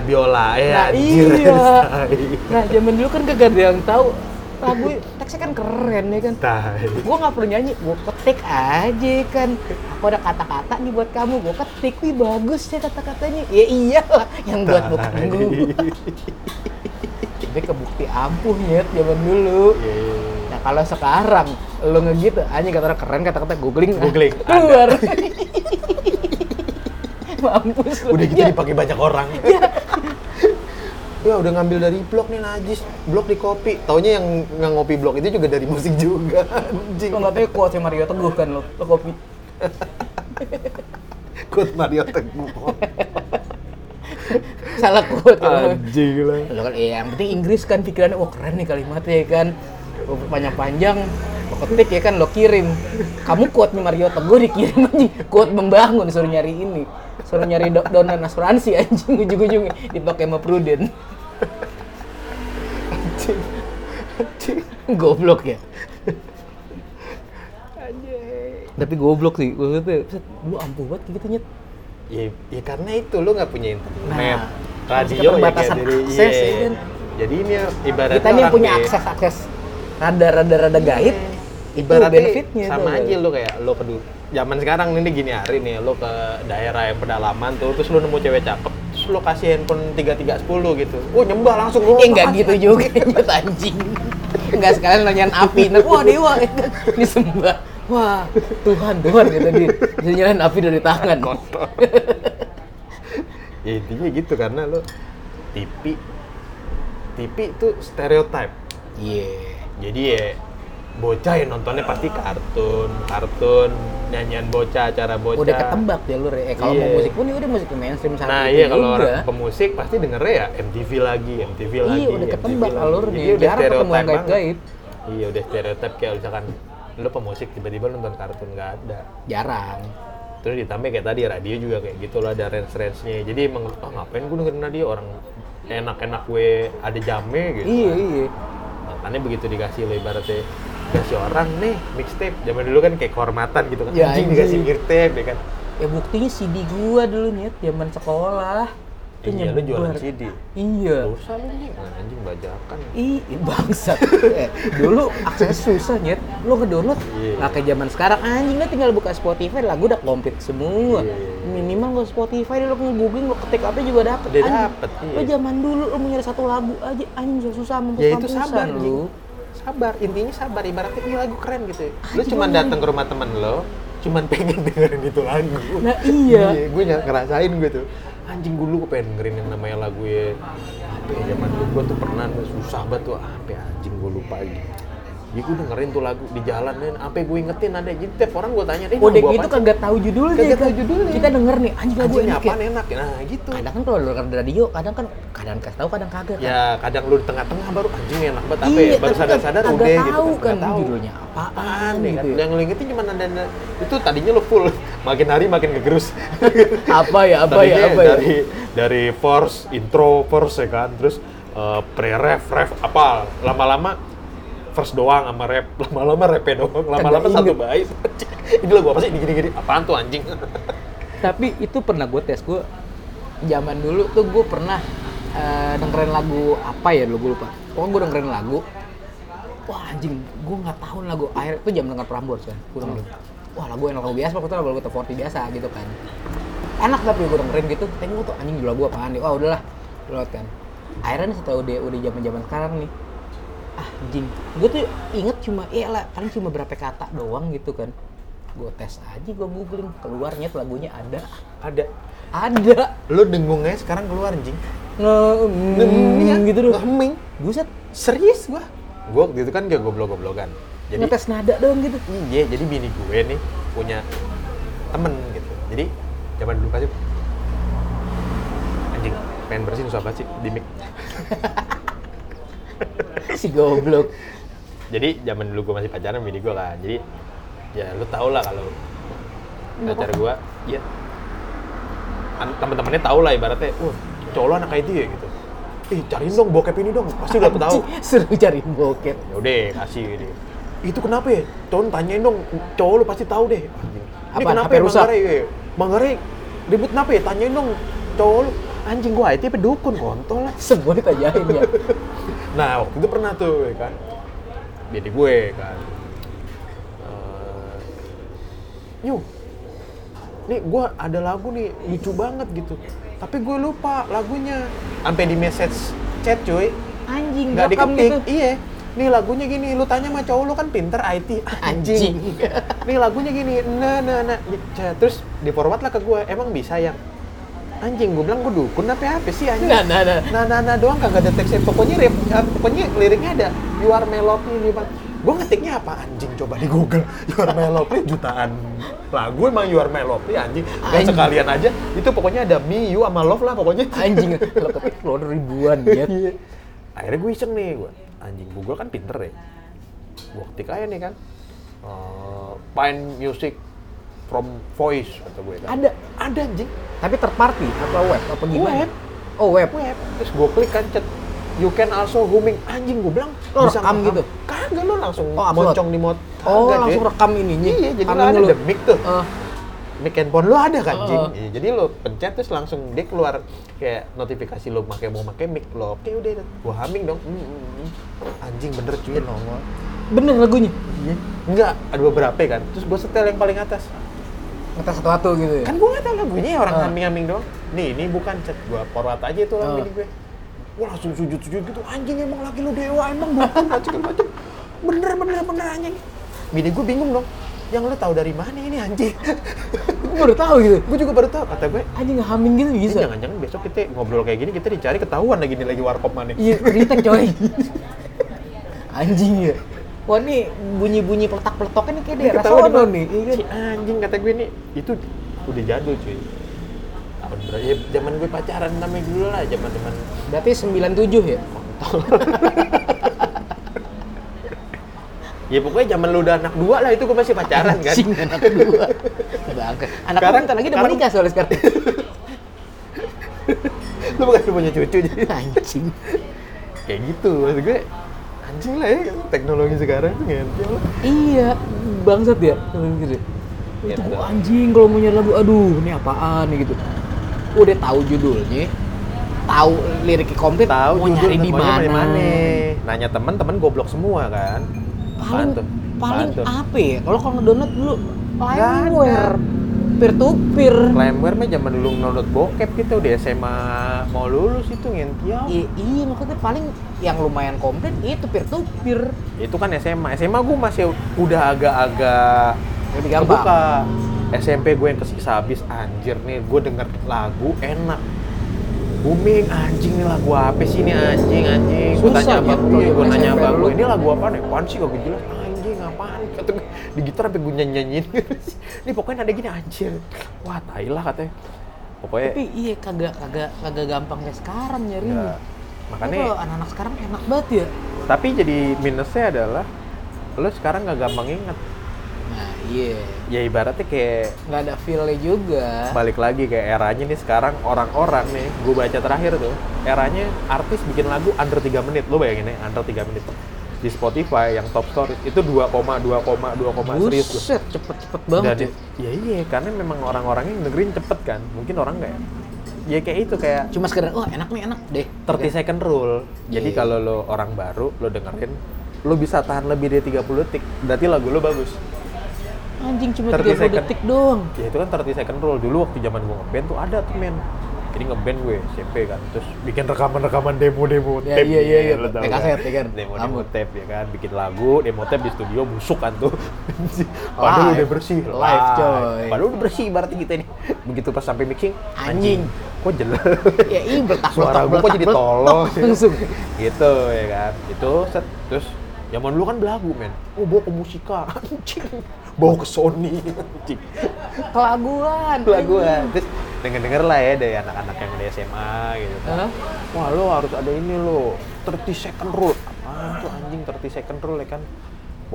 Nah, biola ya. anjir. iya. Tai. nah zaman dulu kan kagak ada yang tahu lagu teksnya kan keren ya kan [laughs] Tai. gue nggak perlu nyanyi gue ketik aja kan aku ada kata-kata nih buat kamu gue ketik wih bagus ya kata-katanya ya iyalah yang buat bukan gue Iya. tapi kebukti ampuh nyet zaman dulu Iya. Nah kalau sekarang lo ngegitu, anjing kata orang keren kata-kata googling, ah, Googling, ada. keluar. [laughs] Mampus lu. udah gitu Ya, dipakai banyak orang ya [laughs] udah ngambil dari blog nih najis blog di kopi taunya yang nggak ngopi blog itu juga dari musik juga [laughs] anjing Lo nggak tahu kuat sama Mario Teguh kan lo, lo kopi. ikut Mario Teguh [laughs] Salah kuat ya lo. anjing lah Lo kan, iya, yang penting Inggris kan pikirannya, wah keren nih kalimatnya ya kan. Lo Panjang-panjang, lo ketik ya [laughs] kan, lo kirim. Kamu kuatnya Mario Teguh dikirim anjing, kuat membangun suruh nyari ini. suruh nyari do- donan asuransi anjing ujung-ujungnya dipakai sama pruden anjing anjing goblok ya tapi goblok sih maksudnya set, lu ampuh banget kayak gitu nyet Ya, ya karena itu lu nggak punya internet, Nah, masih radio ya kayak keterbatasan diri. akses, iya. ya kan? Jadi ini ibaratnya kita nih yang orang punya kayak- akses akses rada rada rada gaib itu ibaratnya benefitnya tau sama gak aja lu? lu kayak lu ke du- zaman sekarang ini gini hari nih lu ke daerah yang pedalaman tuh terus lu nemu cewek cakep terus lu kasih handphone 3310 gitu. Oh nyembah langsung lu. Eh nggak gitu juga [laughs] nyet anjing. Nggak sekalian nanyain api. Nah, wah dewa disembah. Wah Tuhan Tuhan gitu dia. Bisa nyalain api dari tangan. Ya intinya gitu karena lu TV TV itu stereotype. Iya. Jadi ya bocah yang nontonnya pasti kartun, kartun, nyanyian bocah, acara bocah. Udah ketembak jalur ya. Eh, kalau mau Iya. musik pun ya udah musik mainstream saat Nah itu iya juga. kalau orang pemusik pasti dengernya ya MTV lagi, MTV lagi. Iya udah MTV ketembak lagi. alurnya. Jadi udah Jarang ketemu yang stereotype banget. gaib-gaib. Iya udah stereotip kayak misalkan lu pemusik tiba-tiba lu nonton kartun nggak ada. Jarang. Terus ditambah kayak tadi radio juga kayak gitu lah ada range-range-nya. Jadi emang ah ngapain gue dengerin radio orang enak-enak gue ada jamnya gitu. Iya iya. Makanya begitu dikasih lo ibaratnya dikasih orang nih mixtape. Zaman dulu kan kayak kehormatan gitu kan. Ya, anjing. Anjing dikasih mixtape ya kan. Ya buktinya CD gua dulu nih zaman sekolah. Itu Iya lu jualan nyebar. CD. Iya. Dosa lu anjing. Anjing bajakan. Ih, bangsat. Eh, dulu akses susah nyet. Lo ngedownload Iya. nggak kayak zaman sekarang anjing lo tinggal buka Spotify lagu udah komplit semua. Iya, iya, iya. Minimal gua Spotify lo nge-googling lo ketik apa juga dapet. Udah Anjing, dapet, iya. Lo zaman dulu lo mau nyari satu lagu aja anjing susah susah mampus ya itu mampusan sabar lo. lu sabar intinya sabar ibaratnya ini lagu keren gitu lu Anjing, cuman anjing. datang ke rumah temen lo cuman pengen [laughs] dengerin itu lagu Nah, iya. gue ny- ngerasain gue tuh anjing dulu gue pengen dengerin yang namanya lagu ya apa ya zaman dulu gue tuh pernah tuh susah banget tuh apa ya, anjing gue lupa aja jadi gue dengerin tuh lagu di jalan dan apa gue ingetin ada jadi tiap orang gue tanya "Eh, deh Kodek itu kagak tahu judulnya. Kagak kan. tahu judulnya. Kita denger nih anjing lagu anjing enak ya. apaan enak nah gitu Kadang kan kalau denger radio kadang kan kadang kasih tahu kadang kagak. kan. ya kadang lu di tengah-tengah baru anjing enak banget apa Iya, ya baru tapi kan sadar-sadar kagak udah gitu tahu kan kagak tahu. judulnya apaan apaan ya kan? gitu ya. Yang lu ingetin cuma ada itu tadinya lu full, [laughs] makin hari makin kegerus. Apa ya [laughs] apa ya Tadinya apa ya. Dari dari force intro force ya kan, terus eh, pre-ref, ref apa lama-lama first doang sama rap, [laughs] lama-lama rap doang, lama-lama Kagak satu inget. baik. [laughs] Ini lagu apa sih? Ini gini-gini. Apaan tuh anjing? [laughs] tapi itu pernah gue tes gue zaman dulu tuh gue pernah eh, dengerin lagu apa ya dulu gue lupa pokoknya gue dengerin lagu wah anjing gue nggak tahu nih lagu akhir itu jam denger Prambors kan gue dengerin wah lagu enak lagu biasa waktu itu lagu top 40 biasa gitu kan enak tapi gue dengerin gitu tapi gue tuh anjing dulu lagu apaan nih wah udahlah download kan akhirnya nih setelah udah udah zaman zaman sekarang nih ah anjing gue tuh inget cuma ya lah paling cuma berapa kata doang gitu kan gue tes aja gue googling keluarnya tuh lagunya ada Ada. ada Lu dengungnya sekarang keluar anjing. nge Iya, gitu doh Ngeming. buset Serius gua. Gua waktu itu kan kayak goblok-goblokan. Jadi ngetes nada doang gitu Iya, jadi bini gue nih punya temen gitu. Jadi zaman dulu pasti anjing pengen bersihin susah banget sih di mic. si goblok Jadi zaman dulu gue masih pacaran sama bini gue lah. Jadi ya lu tau lah kalau pacar gue, ya an- temen-temennya tau lah ibaratnya, uh cowok lu anak IT ya gitu. Ih cariin dong bokep ini dong, pasti udah Anjing, tahu. seru cari bokep Yaudah kasih gitu. Itu kenapa ya? Cowok tanyain dong, cowok lu pasti tahu deh. Anjing. Ini Apaan? HP kenapa ya rusak? Manggarai? Ya? Manggarai ribut kenapa ya? Tanyain dong cowok lu. Anjing gua IT apa dukun kontol lah. semua ditanyain ya Nah, waktu itu pernah tuh ya kan. Jadi gue kan. Eh, Nyu, nih gue ada lagu nih lucu banget gitu. Tapi gue lupa lagunya. Sampai di message chat cuy, anjing nggak rekam diketik. gitu Iya. Nih lagunya gini, lu tanya sama cowok lu kan pinter [laughs] IT. Anjing. Nih lagunya gini, nah nah nah. Ya, Terus di forward lah ke gue, emang bisa yang anjing gue bilang gue dukun apa apa sih anjing nah nah nah nah nah nah doang kagak deteksi pokoknya rip, eh, pokoknya liriknya ada you are my lovely nih Bang. gue ngetiknya apa anjing coba di google [laughs] you are my lovely jutaan lagu emang you are my lovely anjing dan Anjing. sekalian aja itu pokoknya ada me you sama love lah pokoknya anjing lo ketik keluar ribuan ya Iya. akhirnya gue iseng nih gue anjing google kan pinter ya gue ketik aja nih kan Eh, find music from voice kata gue kan. Ada. Ada anjing. Tapi third party atau web apa gimana? Web. Oh web. Web. Terus gue klik kan cet. You can also homing anjing gue bilang. Lo bisa rekam ngerekam. gitu? Kagak lo langsung Oh, upload. moncong di mot. Oh Kagak, langsung cuy. rekam ininya. Iya, jadi Tangan lo ada lu. the mic tuh. Eh, mic handphone lo ada kan, Jing? Oh. Iya, jadi lo pencet terus langsung dia keluar kayak notifikasi lo pakai mau pakai mic lo. Oke udah, gua humming dong. Hmm, hmm, hmm. Anjing bener Iya. cuy nongol. bener lagunya. Iya. Enggak, ada beberapa kan. Terus gua setel yang paling atas. Ngetes satu-satu gitu ya. Kan gua nggak tahu lagunya orang Oh. humming-humming doang. Nih, ini bukan cet gua forward aja itu Oh. orang bini gue. Gua langsung sujud-sujud gitu. Anjing emang lagi lo dewa, emang bukan macam macam. Bener bener bener anjing. Bini gue bingung dong. Yang lo tahu dari mana ini anjing? [laughs] Gue baru tahu gitu. gue juga baru tahu kata gue. Anjing ngamin gitu Ini bisa. jangan-jangan besok kita ngobrol kayak gini kita dicari ketahuan lagi nih lagi warkop mana. Iya, retake coy. Anjing ya. Wah nih bunyi-bunyi peletak-peletokan nih kayak Ini daerah ketahuan sono di mana. nih. Iya kan? Si anjing kata gue nih itu udah jadul cuy. Tahun berapa? Ya zaman gue pacaran namanya dulu lah, zaman-zaman Berarti 97 ya? Ya pokoknya zaman lu udah anak dua lah itu gue masih pacaran kan. Anjing anak kedua. Bangke. Anak Sekarang- sekarang, bentar lagi udah sekarang- menikah soalnya sekarang. [laughs] lu bukan udah punya cucu jadi Anjing. kayak gitu maksud gue anjing lah ya teknologi sekarang tuh gitu. ngerti lah. Iya, bangsat ya. Kalau gitu. Ya, Itu betul. gua anjing kalau mau nyari lagu, aduh, ini apaan nih gitu. Udah tahu judulnya, tahu liriknya komplit, Tahu mau judul nyari di temuannya dari mana. Nanya temen-temen goblok semua kan. Paling Apaan tuh? paling Apaan tuh? apa ya? Kalau kalau ngedownload dulu ada. LimeWare peer to peer. Limeware mah zaman dulu download bokep gitu di SMA mau lulus itu Ya ngentiau. I- iya maksudnya paling yang lumayan komplit itu peer to peer Itu kan SMA. SMA gue masih udah agak-agak lebih gampang. kebuka. SMP gue yang kesiksa habis anjir nih gue denger lagu enak. Booming anjing nih lagu apa sih ini anjing anjing. Gue Susah tanya ya, apa kalau gue, gue zaman nanya SMP apa dulu. gue. Ini lagu apa nih? Apaan sih kagak jelas anjing apaan? Kata gue di gitar sampai gue nyanyiin. [laughs] Ini pokoknya ada gini anjir. Wah, tai lah katanya. Pokoknya Tapi iya kagak kagak kagak gampang kayak sekarang nyarinya. Ya, makanya hmm. Kalau anak-anak sekarang enak banget ya. tapi jadi minusnya adalah lo sekarang nggak gampang inget Nah, iya. ya ibaratnya kayak Nggak ada feel-nya juga. balik lagi kayak eranya nih sekarang orang-orang nih gue baca terakhir tuh eranya artis bikin lagu under 3 menit lo bayangin ya under 3 menit di Spotify yang top stories itu 2,2,2, serius gua. Buset, cepet-cepet banget Dan ya. ya iya karena memang orang-orangnya dengerin cepet kan mungkin orang kayak ya kayak itu kayak Cuma sekedar, oh enak nih enak deh. 30 second rule. Jadi Iya. kalau lo orang baru, lo dengerin, lo bisa tahan lebih dari 30 detik. Berarti lagu lo bagus. Anjing cuma 30 30 second. detik doang. Ya itu kan 30 second rule. Dulu waktu zaman gue ngeband tuh ada tuh men. Jadi ngeband gue SMP kan, terus bikin rekaman-rekaman demo-demo Ya, tape. iya, iya, iya. lo tau Tape kaset, ya kan? Demo-demo Ampun. tape ya kan, bikin lagu, demo tape di studio busuk kan tuh. [laughs] Padahal Live. udah bersih, Live, coy. Padahal udah bersih berarti kita nih. Begitu pas sampai mixing, Anjing. Kok jelas. Ya iya, bertak Suara gue kok jadi tolong. ya? Langsung. gitu ya kan itu set terus zaman dulu kan belagu men oh bawa ke musika [laughs] anjing bawa ke Sony anjing Kelaguan. belaguan terus denger denger lah ya dari anak-anak yang udah SMA gitu kan Hah? wah lo harus ada ini lo 30 second rule apa tuh anjing 30 second rule ya kan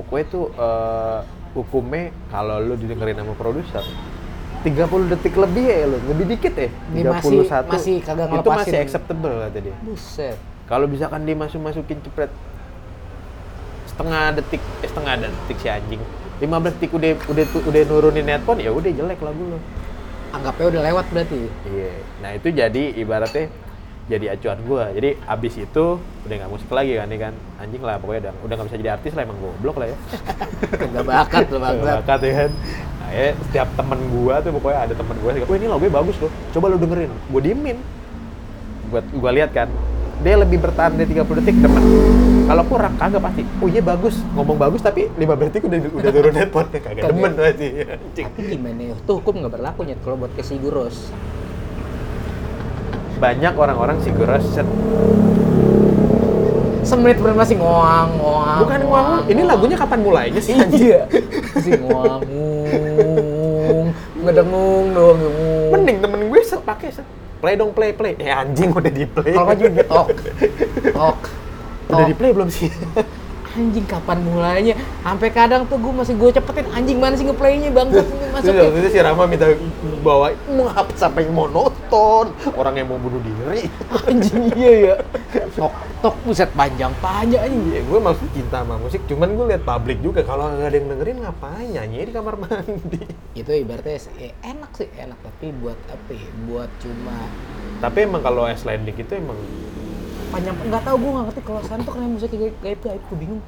pokoknya tuh eh, hukumnya kalau lo didengerin sama produser 30 detik lebih ya lo lebih dikit ya Ini 31 masih- masih kagak itu ngelepasin. masih acceptable kata dia Buset. kalau misalkan dia masuk masukin cepet setengah detik, eh, setengah detik si anjing. 15 detik udah udah udah nurunin headphone ya udah jelek lagu lo. Anggapnya udah lewat berarti. Iya. Nah, itu jadi ibaratnya jadi acuan gua. Jadi abis itu udah nggak musik lagi kan nih kan. Anjing lah pokoknya udah udah nggak bisa jadi artis lah emang goblok lah ya. Kagak bakat lu bangsat. Bakat ya kan. Nah, ya, setiap temen gua tuh pokoknya ada temen gua sih, "Wah, ini lagunya bagus loh. Coba lu dengerin." Gua diemin. Buat gua lihat kan. Dia lebih bertahan dari 30 detik temen. Kalau kurang kagak pasti. Oh iya bagus, ngomong bagus tapi 15 detik udah udah turun headphone [laughs] kagak Kagak. demen pasti. Anjing. Tapi gimana ya? Tuh hukum nggak berlaku nyet kalau buat kesi gurus. Banyak orang-orang sih gua rasa, Semenit bener masih ngoang ngoang. Bukan ngomong, ini lagunya kapan mulainya sih? anjing? Iya. Masih ngoang. ngoong, Ngedengung doang. ngoong. Mending temen gue set pakai set. Play dong play play. Eh anjing udah di play. Kalau nggak juga kan tok. Tok. Udah tok. di play belum sih? anjing kapan mulainya sampai kadang tuh gue masih gue cepetin anjing mana sih ngeplaynya bangsat ya? ini Terus masuknya waktu itu si Rama minta bawa menghap sampai monoton orang yang mau bunuh diri. anjing iya ya tok tok buset panjang panjang anjing Ya gue maksud cinta sama musik, cuman gue liat publik juga kalau nggak ada yang dengerin ngapain nyanyi di kamar mandi. itu ibaratnya sih, ya, enak sih enak tapi buat apa ya buat cuma Tapi emang kalau es landing itu emang panjang nggak tahu gue nggak ngerti kalau sana tuh kenapa musiknya gaib gaib gaib gue bingung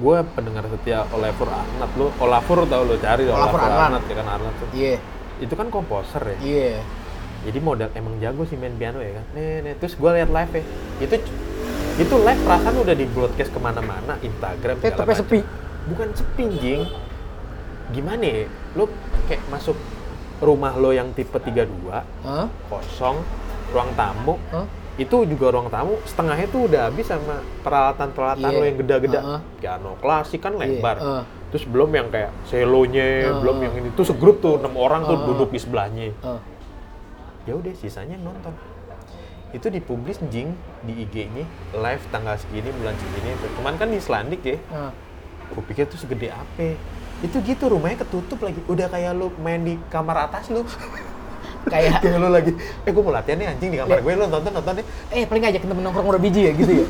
gue pendengar setia Olafur Arnat lo Olafur tau lo cari tau, Olafur Arnat. ya kan Arnat tuh iya itu kan komposer ya iya jadi modal emang jago sih main piano ya kan nih, nih. terus gue liat live ya itu itu live perasaan udah di broadcast kemana-mana Instagram Tapi- segala Eh, tapi macam. sepi. bukan sepi jing gimana ya lo kayak masuk rumah lo yang tipe 32 Hah? kosong ruang tamu Hah? itu juga ruang tamu setengahnya tuh udah habis sama peralatan-peralatan Iya. lo yang gede-gede Heeh. Iya, piano klasik kan lebar heeh. terus belum yang kayak selonya Heeh. belum yang ini tuh segrup tuh enam orang tuh Heeh. duduk di sebelahnya Oh. ya udah sisanya nonton itu dipublis jing di IG-nya live tanggal segini bulan segini tuh. cuman kan di Selandik ya Hah. gue pikir tuh segede apa itu gitu rumahnya ketutup lagi udah kayak lu main di kamar atas lu kayak [laughs] kayak lu lagi eh gue mau latihan nih anjing di kamar gue lu nonton nonton nih eh paling aja temen nongkrong udah biji ya gitu ya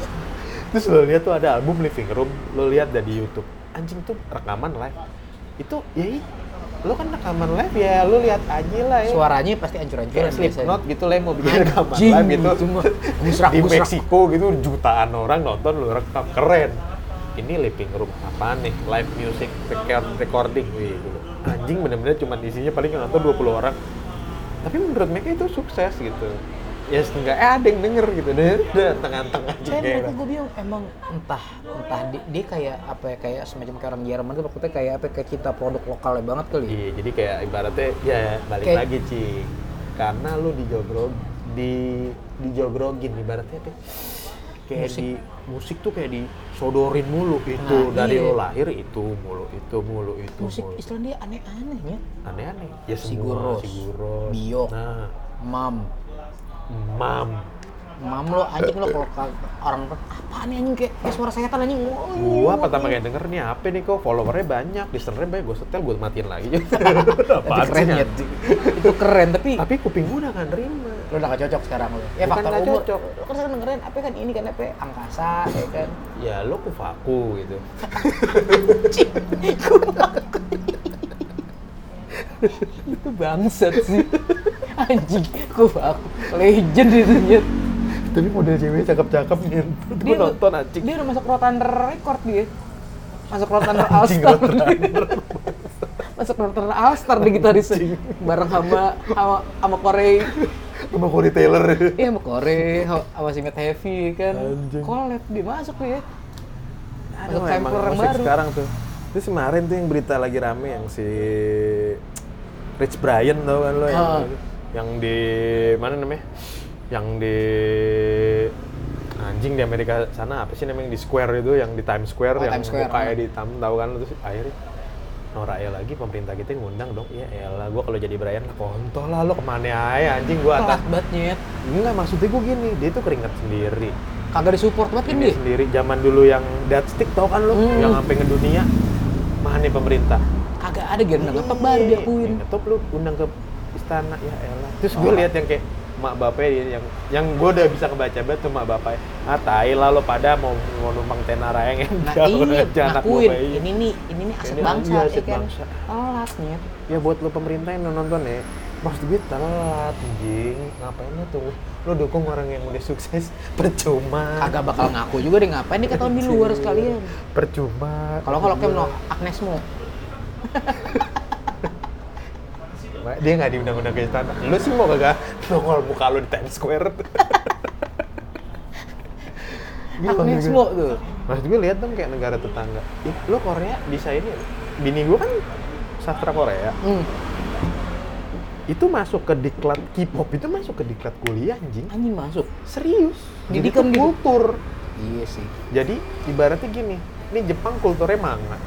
terus lo lihat tuh ada album living room lo lihat dari YouTube anjing tuh rekaman live itu ya i- lo kan rekaman live ya lo lihat aja Eh. lah ya suaranya pasti ancur-ancuran kayak Slipknot gitu lah yang mau bikin Anjing, rekaman live gitu itu mah. Gusrak, di gusrak. Meksiko gitu jutaan orang nonton lo rekam keren ini living room apa nih live music record recording Wih, gitu. anjing bener-bener cuma isinya paling yang nonton 20 orang tapi menurut mereka itu sukses gitu ya enggak eh ada yang denger gitu deh udah tengah-tengah aja Kayak kayak mereka gue bilang emang entah entah di- dia, kayak apa ya kayak semacam kayak orang Jerman tuh maksudnya kayak apa ya, kayak kita produk lokalnya banget kali. ya. Iya, jadi kayak ibaratnya ya balik Kayak- lagi cing, karena lu dijobrog di dijobrogin ibaratnya tuh kayak Musik. di musik tuh kayak disodorin mulu itu Nah, dari iya. lo lahir itu mulu itu mulu itu Musik mulu. Islam dia aneh-aneh ya. aneh-aneh ya Siguros, semua siguros Biok. nah Mam, mam mam lo anjing lo kalau ka- orang apa nih anjing kayak kayak suara setan anjing. Oh, gua pertama kali denger nih apa nih kok followernya banyak listenernya banyak gua setel gua matiin [laughs] lagi itu Apaan sih, keren ya. anjing? Itu keren tapi tapi kuping gua udah gak nerima lo udah gak cocok sekarang lo. Ya Bukan faktor nggak umur. cocok. Lo kan sekarang dengerin apa kan ini kan apa ya, angkasa ya kan. ya lo kufaku gitu itu bangsat sih. [laughs] Anjing, gue aku legend itu nyet. tapi model cewek cakep-cakep nih gue nonton anjing Dia udah masuk rotan record dia. Masuk rotan [laughs] anjing Alstar. rotan [laughs] masuk rotan Alstar di gitaris bareng sama sama sama Korea. sama Corey Taylor Iya sama Korea, ha- sama Singlet Heavy kan. Anjing. Collab dia masuk dia. aduh Masuk emang sampler yang musik baru. sekarang tuh terus kemarin tuh yang berita lagi rame yang si Rich Brian tau kan lo yang, Ah. yang di mana namanya yang di anjing di Amerika sana apa sih namanya yang di square itu yang di Times Square Oh, yang Times Square. mukanya hitam tau kan lo terus akhirnya Nora ya lagi pemerintah kita ngundang dong ya elah gue kalau jadi Brian kontol lah lo kemana aja anjing gue atas Telat banget nyet. Enggak, maksudnya gue gini, dia tuh keringat sendiri. Kagak disupport banget kan Ini dia. sendiri, zaman dulu yang dead stick tau kan lo, Hmm. yang sampai ngedunia. Mana nih pemerintah? Kagak ada gear Iya. ngetop baru diakuin. Oh. Yang Ngetop lu undang ke istana, ya elah. Terus gue lihat yang kayak mak bapaknya dia yang yang gue udah bisa kebaca banget tuh mak bapaknya. Ah, tai lah lo pada mau mau numpang tenara yang Nah jauh iya, aja anak ngakuin. bapaknya. Ini nih, ini nih aset Ini bangsa, iya, ya aset kan. bangsa. Telat nyet. ya buat lo pemerintah yang nonton ya maksud gue telat anjing ngapain lo tuh lo dukung orang yang udah sukses [laughs] percuma kagak bakal ngaku juga deh ngapain dia ketahuan di luar sekalian percuma kalau kalau kayak no Agnesmu dia nggak diundang-undang ke istana lu sih mau kagak nongol muka lu di Times [laughs] Square Gila, Agnesmu gila. tuh maksud gue gitu. lihat dong kayak negara tetangga Ih, lo Korea bisa ini ya? bini gue kan sastra Korea hmm. itu masuk ke diklat K-pop itu masuk ke diklat kuliah anjing anjing masuk serius jadi Didikan itu gitu. kultur iya sih Jadi ibaratnya gini, ini Jepang kulturnya manga.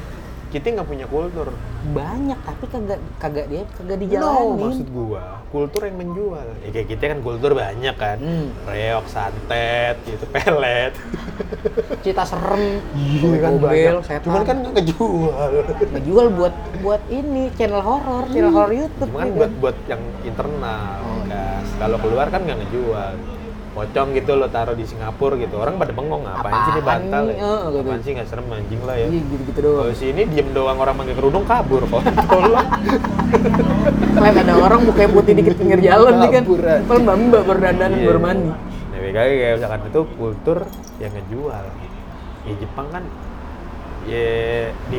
kita nggak punya kultur banyak tapi kagak kagak dia kagak No, dijalanin maksud gua kultur yang menjual. Ya kayak kita kan kultur banyak kan. Hmm. Reok, santet, gitu, pelet. cita serem Iya kan gobel banyak. setan Cuman kan nggak kejual. ngejual buat buat ini channel horor channel horor YouTube Cuma kan gitu. buat buat yang internal. Oh, Gas. Kalau keluar kan nggak ngejual. Pocong gitu lo taruh di Singapura gitu. Orang pada bengong ngapain sih ini Apaan bantal nih? ya? Eh, gitu. Apaan sih nggak serem anjing lah ya. Iya, gitu-gitu doang. Kalau sini diem doang orang pakai kerudung kabur [laughs] kok. Tolong. Kalian ada orang mukanya putih dikit pinggir jalan nih kan. Kabur aja. Kalau mbak mbak baru dandanan Iya. baru mandi. Nah, BKG kayak misalkan itu kultur yang ngejual. Ya Jepang kan ya di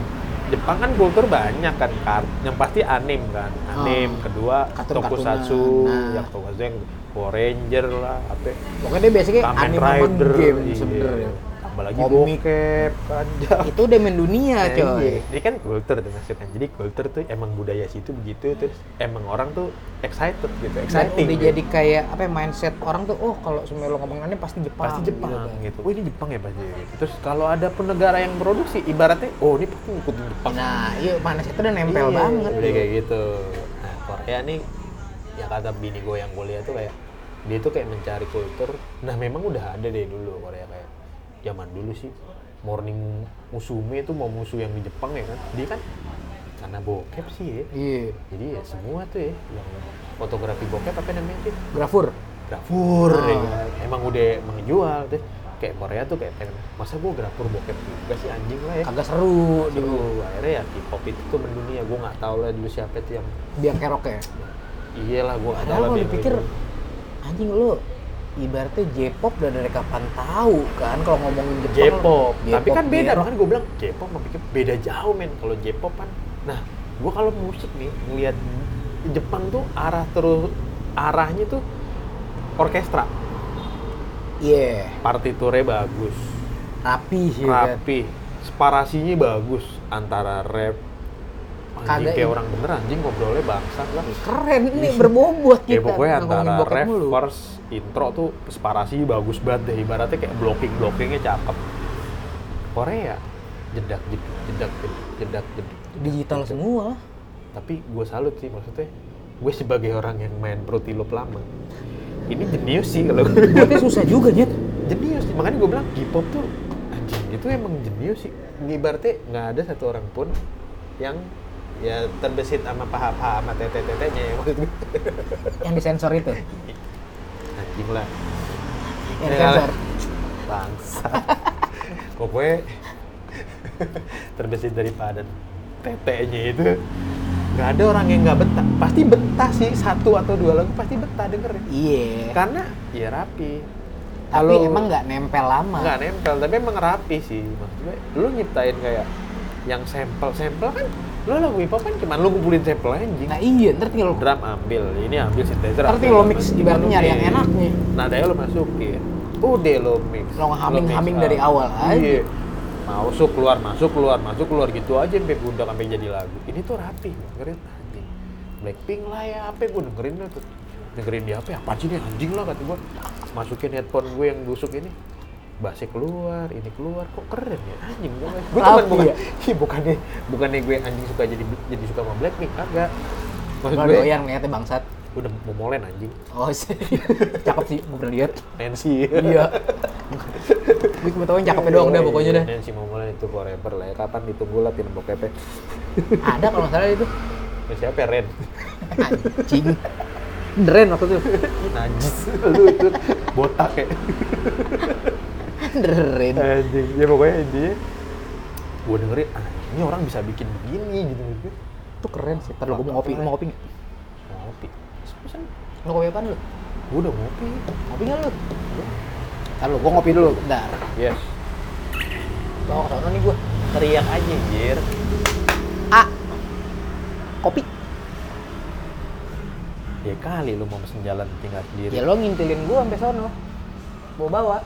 Jepang kan kultur banyak kan kart yang pasti anime kan. Anime Oh. kedua Kartun-kartunan. tokusatsu, Nah. yang tokusatsu yang Power Ranger lah, apa Pokoknya dia biasanya Kamen Eh, anime sama Rider game iya. sebenarnya. Tambah lagi Komik. bokep, kanjang. Itu udah main dunia coy. Iya. Ini kan kultur tuh maksudnya. Jadi kultur tuh emang budaya situ begitu terus emang orang tuh excited gitu, Dan exciting. udah gitu. jadi kayak apa ya, mindset orang tuh, oh kalau semuanya lo ngomong anime pasti Jepang. pasti Jepang gitu kan. gitu. Oh ini Jepang ya pasti. Terus kalau ada pun negara yang produksi ibaratnya oh ini pasti ngikutin Jepang. Nah, iya mindset itu udah nempel Iya, banget. Udah kayak gitu. Nah, Korea nih yang kata bini gue yang kuliah tuh kayak dia tuh kayak mencari kultur. Nah, memang udah ada deh dulu Korea kayak zaman dulu sih morning musume itu mau musuh yang di Jepang ya kan. Dia kan karena bokep sih ya. Iya. Jadi ya semua tuh ya yang fotografi bokep apa namanya sih? Grafur. grafur Ah. ya kan. emang udah menjual tuh kayak Korea tuh kayak pengen masa gua grafur bokep juga sih anjing lah ya Kagak seru Seru. gitu. akhirnya ya K-pop itu tuh mendunia gua nggak tahu lah dulu siapa itu yang Biang kerok ya. iyalah gua nggak Padahal tahu lah kalau dia dipikir yang- anjing lo ibaratnya J-pop udah dari kapan tahu kan kalau ngomongin Jepang. ya. J-pop tapi kan beda J-rock. makanya gua bilang J-pop sama pikir beda jauh men kalau J-pop kan nah gua kalau musik nih ngelihat Jepang tuh arah terus arahnya tuh orkestra Iya, partiturnya bagus rapi sih kan. rapi separasinya bagus antara rap anjing Kagak kayak ini. orang bener anjing ngobrolnya bangsat lah Keren nih berbobot ya kita. pokoknya Nah, ngomongin antara bokep rap mulu. verse intro tuh separasinya bagus banget deh ibaratnya kayak blocking blockingnya cakep Korea jedak jeduk jedak jeduk jedak jeduk digital semua. tapi gue salut sih maksudnya gue sebagai orang yang main Protilo lama ini jenius sih kalau Buatnya susah juga, Jet. jenius makanya gue bilang K-pop tuh anjing itu emang jenius sih ibaratnya nggak ada satu orang pun yang ya terbesit sama paha-paha sama tete-tetenya ya maksud gue Yang disensor itu. anjing lah Yang Iya. disensor. bangsa [laughs] pokoknya [laughs] terbesit dari padan tetenya itu nggak ada orang yang nggak betah pasti betah sih satu atau dua lagu pasti betah dengerin Iya. karena ya rapi Tapi Kalau- emang nggak nempel lama. nggak nempel tapi emang rapi sih maksud gue lu nyiptain kayak yang sampel sampel kan lu lagu hip hop kan cuman lu kumpulin sampel anjing Nah iya, ntar tinggal lo drum ambil ini ambil synthesizer Ntar ambil, tinggal ambil, mix ambil, ibaratnya nyari ambil. yang enaknya. nadanya lu masukin udah lu mix Lo ngehaming-haming Lu mix dari up. awal aja. iya masuk keluar masuk keluar masuk keluar gitu aja sampai pundak sampai jadi lagu ini tuh rapi dengerin anjing Blackpink lah ya apa gue dengerin lah tuh dengerin dia apa apa sih ini anjing lah kata gue masukin headphone gue yang busuk ini bassnya keluar ini keluar kok keren ya anjing [laughs] gue gue cuman Rapi bukan ya? iya [laughs] bukannya bukannya gue anjing suka jadi jadi suka sama Blackpink kagak maksud Kalau gue doyan ngeliatnya bangsat. udah momolen anjing Oh [laughs] sih. Cakep sih, gue pernah lihat. [laughs] Nancy Iya. Gue cuma tau yang cakepnya doang dah pokoknya dah. Nancy momolen itu forever lah ya kapan ditunggu lah film bokepnya Ada kalau nggak salah itu. Ya, siapa ya Ren [laughs] [laughs] Anjing. Dren waktu itu. najis [laughs] lu itu botak ya Dren. anjing ya pokoknya intinya gue dengerin ah, ini orang bisa bikin begini gitu gitu Itu keren sih. Ntar lu gua mau ngopi, mau ngopi nggak? ngopi Sepesan. Lu kopi apaan lu? gue udah ngopi Ngopi nggak lu? Ntar lu, gua ngopi dulu. Bentar. yes Bawa ke sana nih gua. teriak aja jir A. Kopi. ya kali lu mau pesen jalan tinggal sendiri Ya lo ngintilin gua sampai sono. Bawa [laughs] bawa.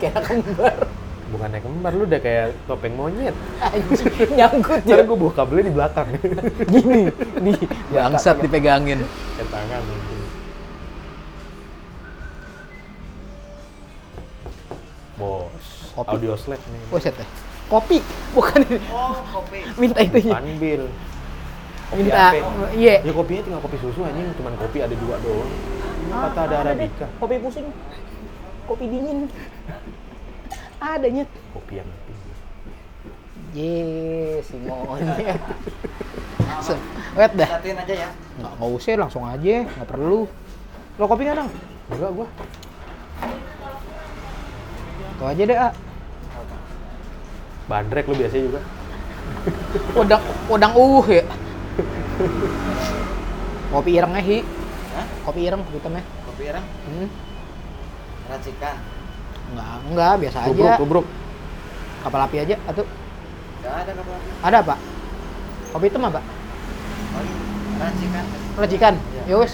Kayak kembar. bukannya kembar lu udah kayak topeng monyet Anjing, nyangkut Ntar ya. gue buka kabelnya di [laughs] belakang Gini, nih bangsat dipegangin. ya tangan mungkin bos Kopi. audio slab nih. Buset deh. Kopi, bukan ini. Oh, kopi. minta itunya. Panbil. Minta, iya. Ya kopinya tinggal kopi susu anjing, cuman kopi ada dua doang. Ini kata Oh, ada arabica. Kopi pusing. Kopi dingin. Adanya. Kopi yang pink. Ye, si monyet. Se- Wet dah. Satuin aja ya. Nggak, nggak usah, langsung aja. Nggak perlu. Lo kopi nggak, Dang? Enggak gua. Itu aja deh, ah. Bandrek lu biasanya juga. Udang, udang uh ya. Kopi irengnya, Hi. Hah? Kopi ireng, hitamnya. Kopi ireng, Hmm. racikan. Enggak, enggak, biasa aja. Tubruk, tubruk. Kapal api aja, atau Gak ada kapal. ada apa? Kopi hitam apa? Paling Oh, iya. racikan. Racikan, Iya. ya wes.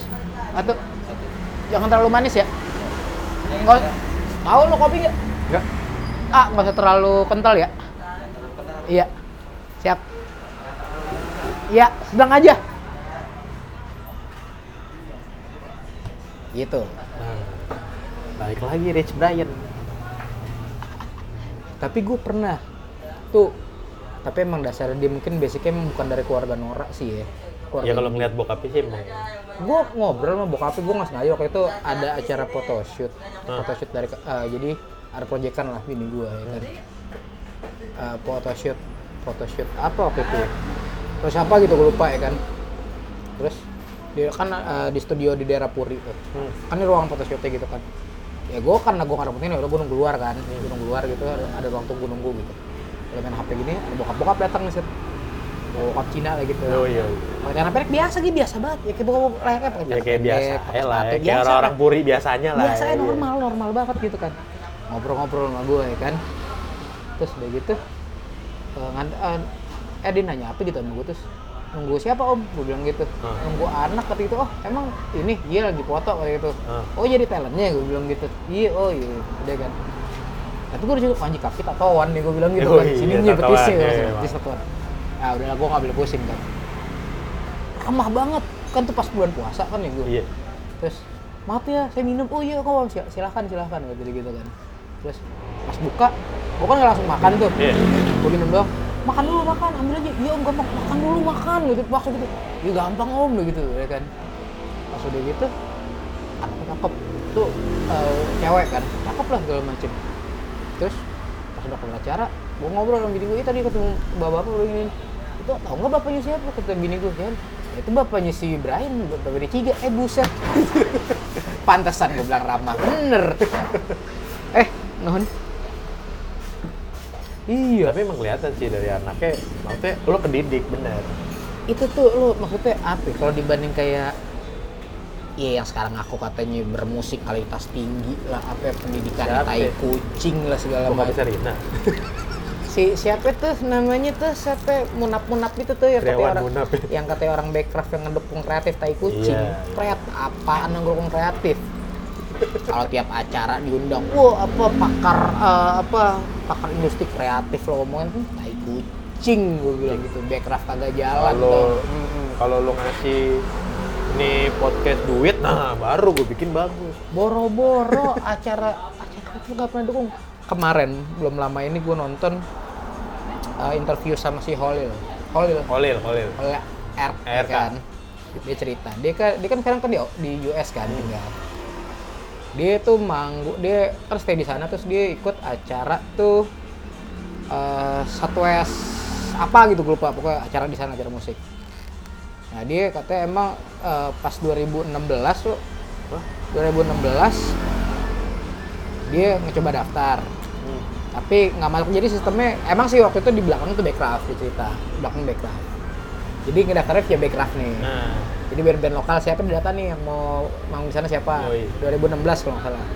Atau Satu. jangan terlalu manis ya. Yang Nggak- ada. Tahu lo kopi nggak? Enggak. Ah, nggak usah terlalu kental ya. Yang terlalu kental. Iya. Siap. Iya, sedang aja. Gitu. Nah, balik lagi Rich Brian. Tapi gue pernah tuh. Tapi emang dasarnya dia mungkin basicnya emang bukan dari keluarga Nora sih ya. Ya kalau ngeliat bokapnya sih emang. gue ngobrol sama bokapnya gue nggak sengaja waktu itu ada acara photoshoot Hmm. photoshoot dari ke- eh, jadi ada proyekan lah bini gue ya kan Eh, photoshoot photoshoot apa waktu itu ya? terus apa gitu gue lupa ya kan terus dia kan eh, di studio di daerah Puri tuh Hmm. kan ini ruang photoshootnya gitu kan ya gue karena gue nggak dapetin ya udah gue nunggu luar kan gue nunggu luar gitu ada, ada ruang tunggu nunggu gitu udah main HP gini ada bokap bokap datang nih set bokap Cina lah gitu Oh iya. Pakai celana pendek biasa gitu, biasa banget. Ya kayak bukan lehernya pakai Ya celana kayak biasa pendek, pakai ya lah, sepatu, ya. kayak orang-orang puri biasanya lah. Biasa ya, iya. normal, normal banget gitu kan. Ngobrol-ngobrol sama gue ya kan. Terus udah gitu, eh, ngad- eh, eh dia nanya apa gitu sama gue terus nunggu siapa om? Gue bilang gitu. Hmm. Nunggu anak kata gitu. Oh emang ini dia lagi foto kayak gitu. Hmm. Oh jadi talentnya gue bilang gitu. Iya oh iya udah kan. Tapi gue udah cukup anjing kaki tatoan nih gue bilang gitu Yoi, kan. iya, Sininya tatoan, betisnya iya, langsung, iya, betis Pak. tatoan. Ah udah lah gue nggak boleh pusing kan ramah banget kan tuh pas bulan puasa kan ya gue Iya. terus maaf ya saya minum oh iya kok Om. Sil- silahkan silahkan gitu gitu kan terus pas buka gue kan nggak langsung makan tuh Iya. gue minum doang makan dulu makan ambil aja iya om gampang makan dulu makan gitu maksud gitu iya gampang om gitu ya kan pas udah gitu anaknya cakep tuh eh, cewek kan cakep lah segala macem terus pas udah kelar acara gue ngobrol sama bini gue "Ih, tadi ketemu bapak bapak gini itu tau nggak bapaknya siapa kata bini gue kan itu bapaknya si Brian bapaknya Ciga eh buset pantesan gue bilang ramah bener eh non iya Tapi emang kelihatan sih dari anaknya, maksudnya lo kedidik bener. itu tuh lu maksudnya apa ya? kalau dibanding kayak Iya yang sekarang aku katanya bermusik kualitas tinggi lah apa ya, pendidikan Siapa tai ya? kucing lah segala Bokapnya macam. Serina. Si siapa tuh namanya tuh siapa munap-munap itu tuh yang katanya Triawan orang Munap. [laughs] yang katanya orang backcraft yang ngedukung kreatif tai kucing. Iya, iya. Kreat apaan yang ngedukung kreatif? kalau tiap acara diundang, wah apa pakar eh, apa pakar industri kreatif lo ngomongin "Hmm, tai kucing gue bilang gitu backcraft kagak jalan tuh. Kalau mm, kalau lo ngasih ini podcast duit, nah baru gue bikin bagus. boro-boro acara acara itu nggak pernah dukung kemarin belum lama ini gue nonton uh, interview sama si Holil Holil Kolil, kolil. Holil R RK. kan dia cerita dia kan dia kan sekarang kan di, di US kan tinggal dia tuh manggu dia terus stay di sana terus dia ikut acara tuh eh Southwest apa gitu gue lupa pokoknya acara di sana acara musik nah dia katanya emang eh, pas 2016 tuh Wah, 2016 dia ngecoba daftar hmm. tapi nggak masuk jadi sistemnya emang sih waktu itu di belakang tuh backcraft dicerita belakang backcraft jadi ngedaftarnya via backcraft nih Nah, jadi band-band lokal siapa di data nih yang mau mau di sana siapa Oh, iya. 2016 kalau nggak salah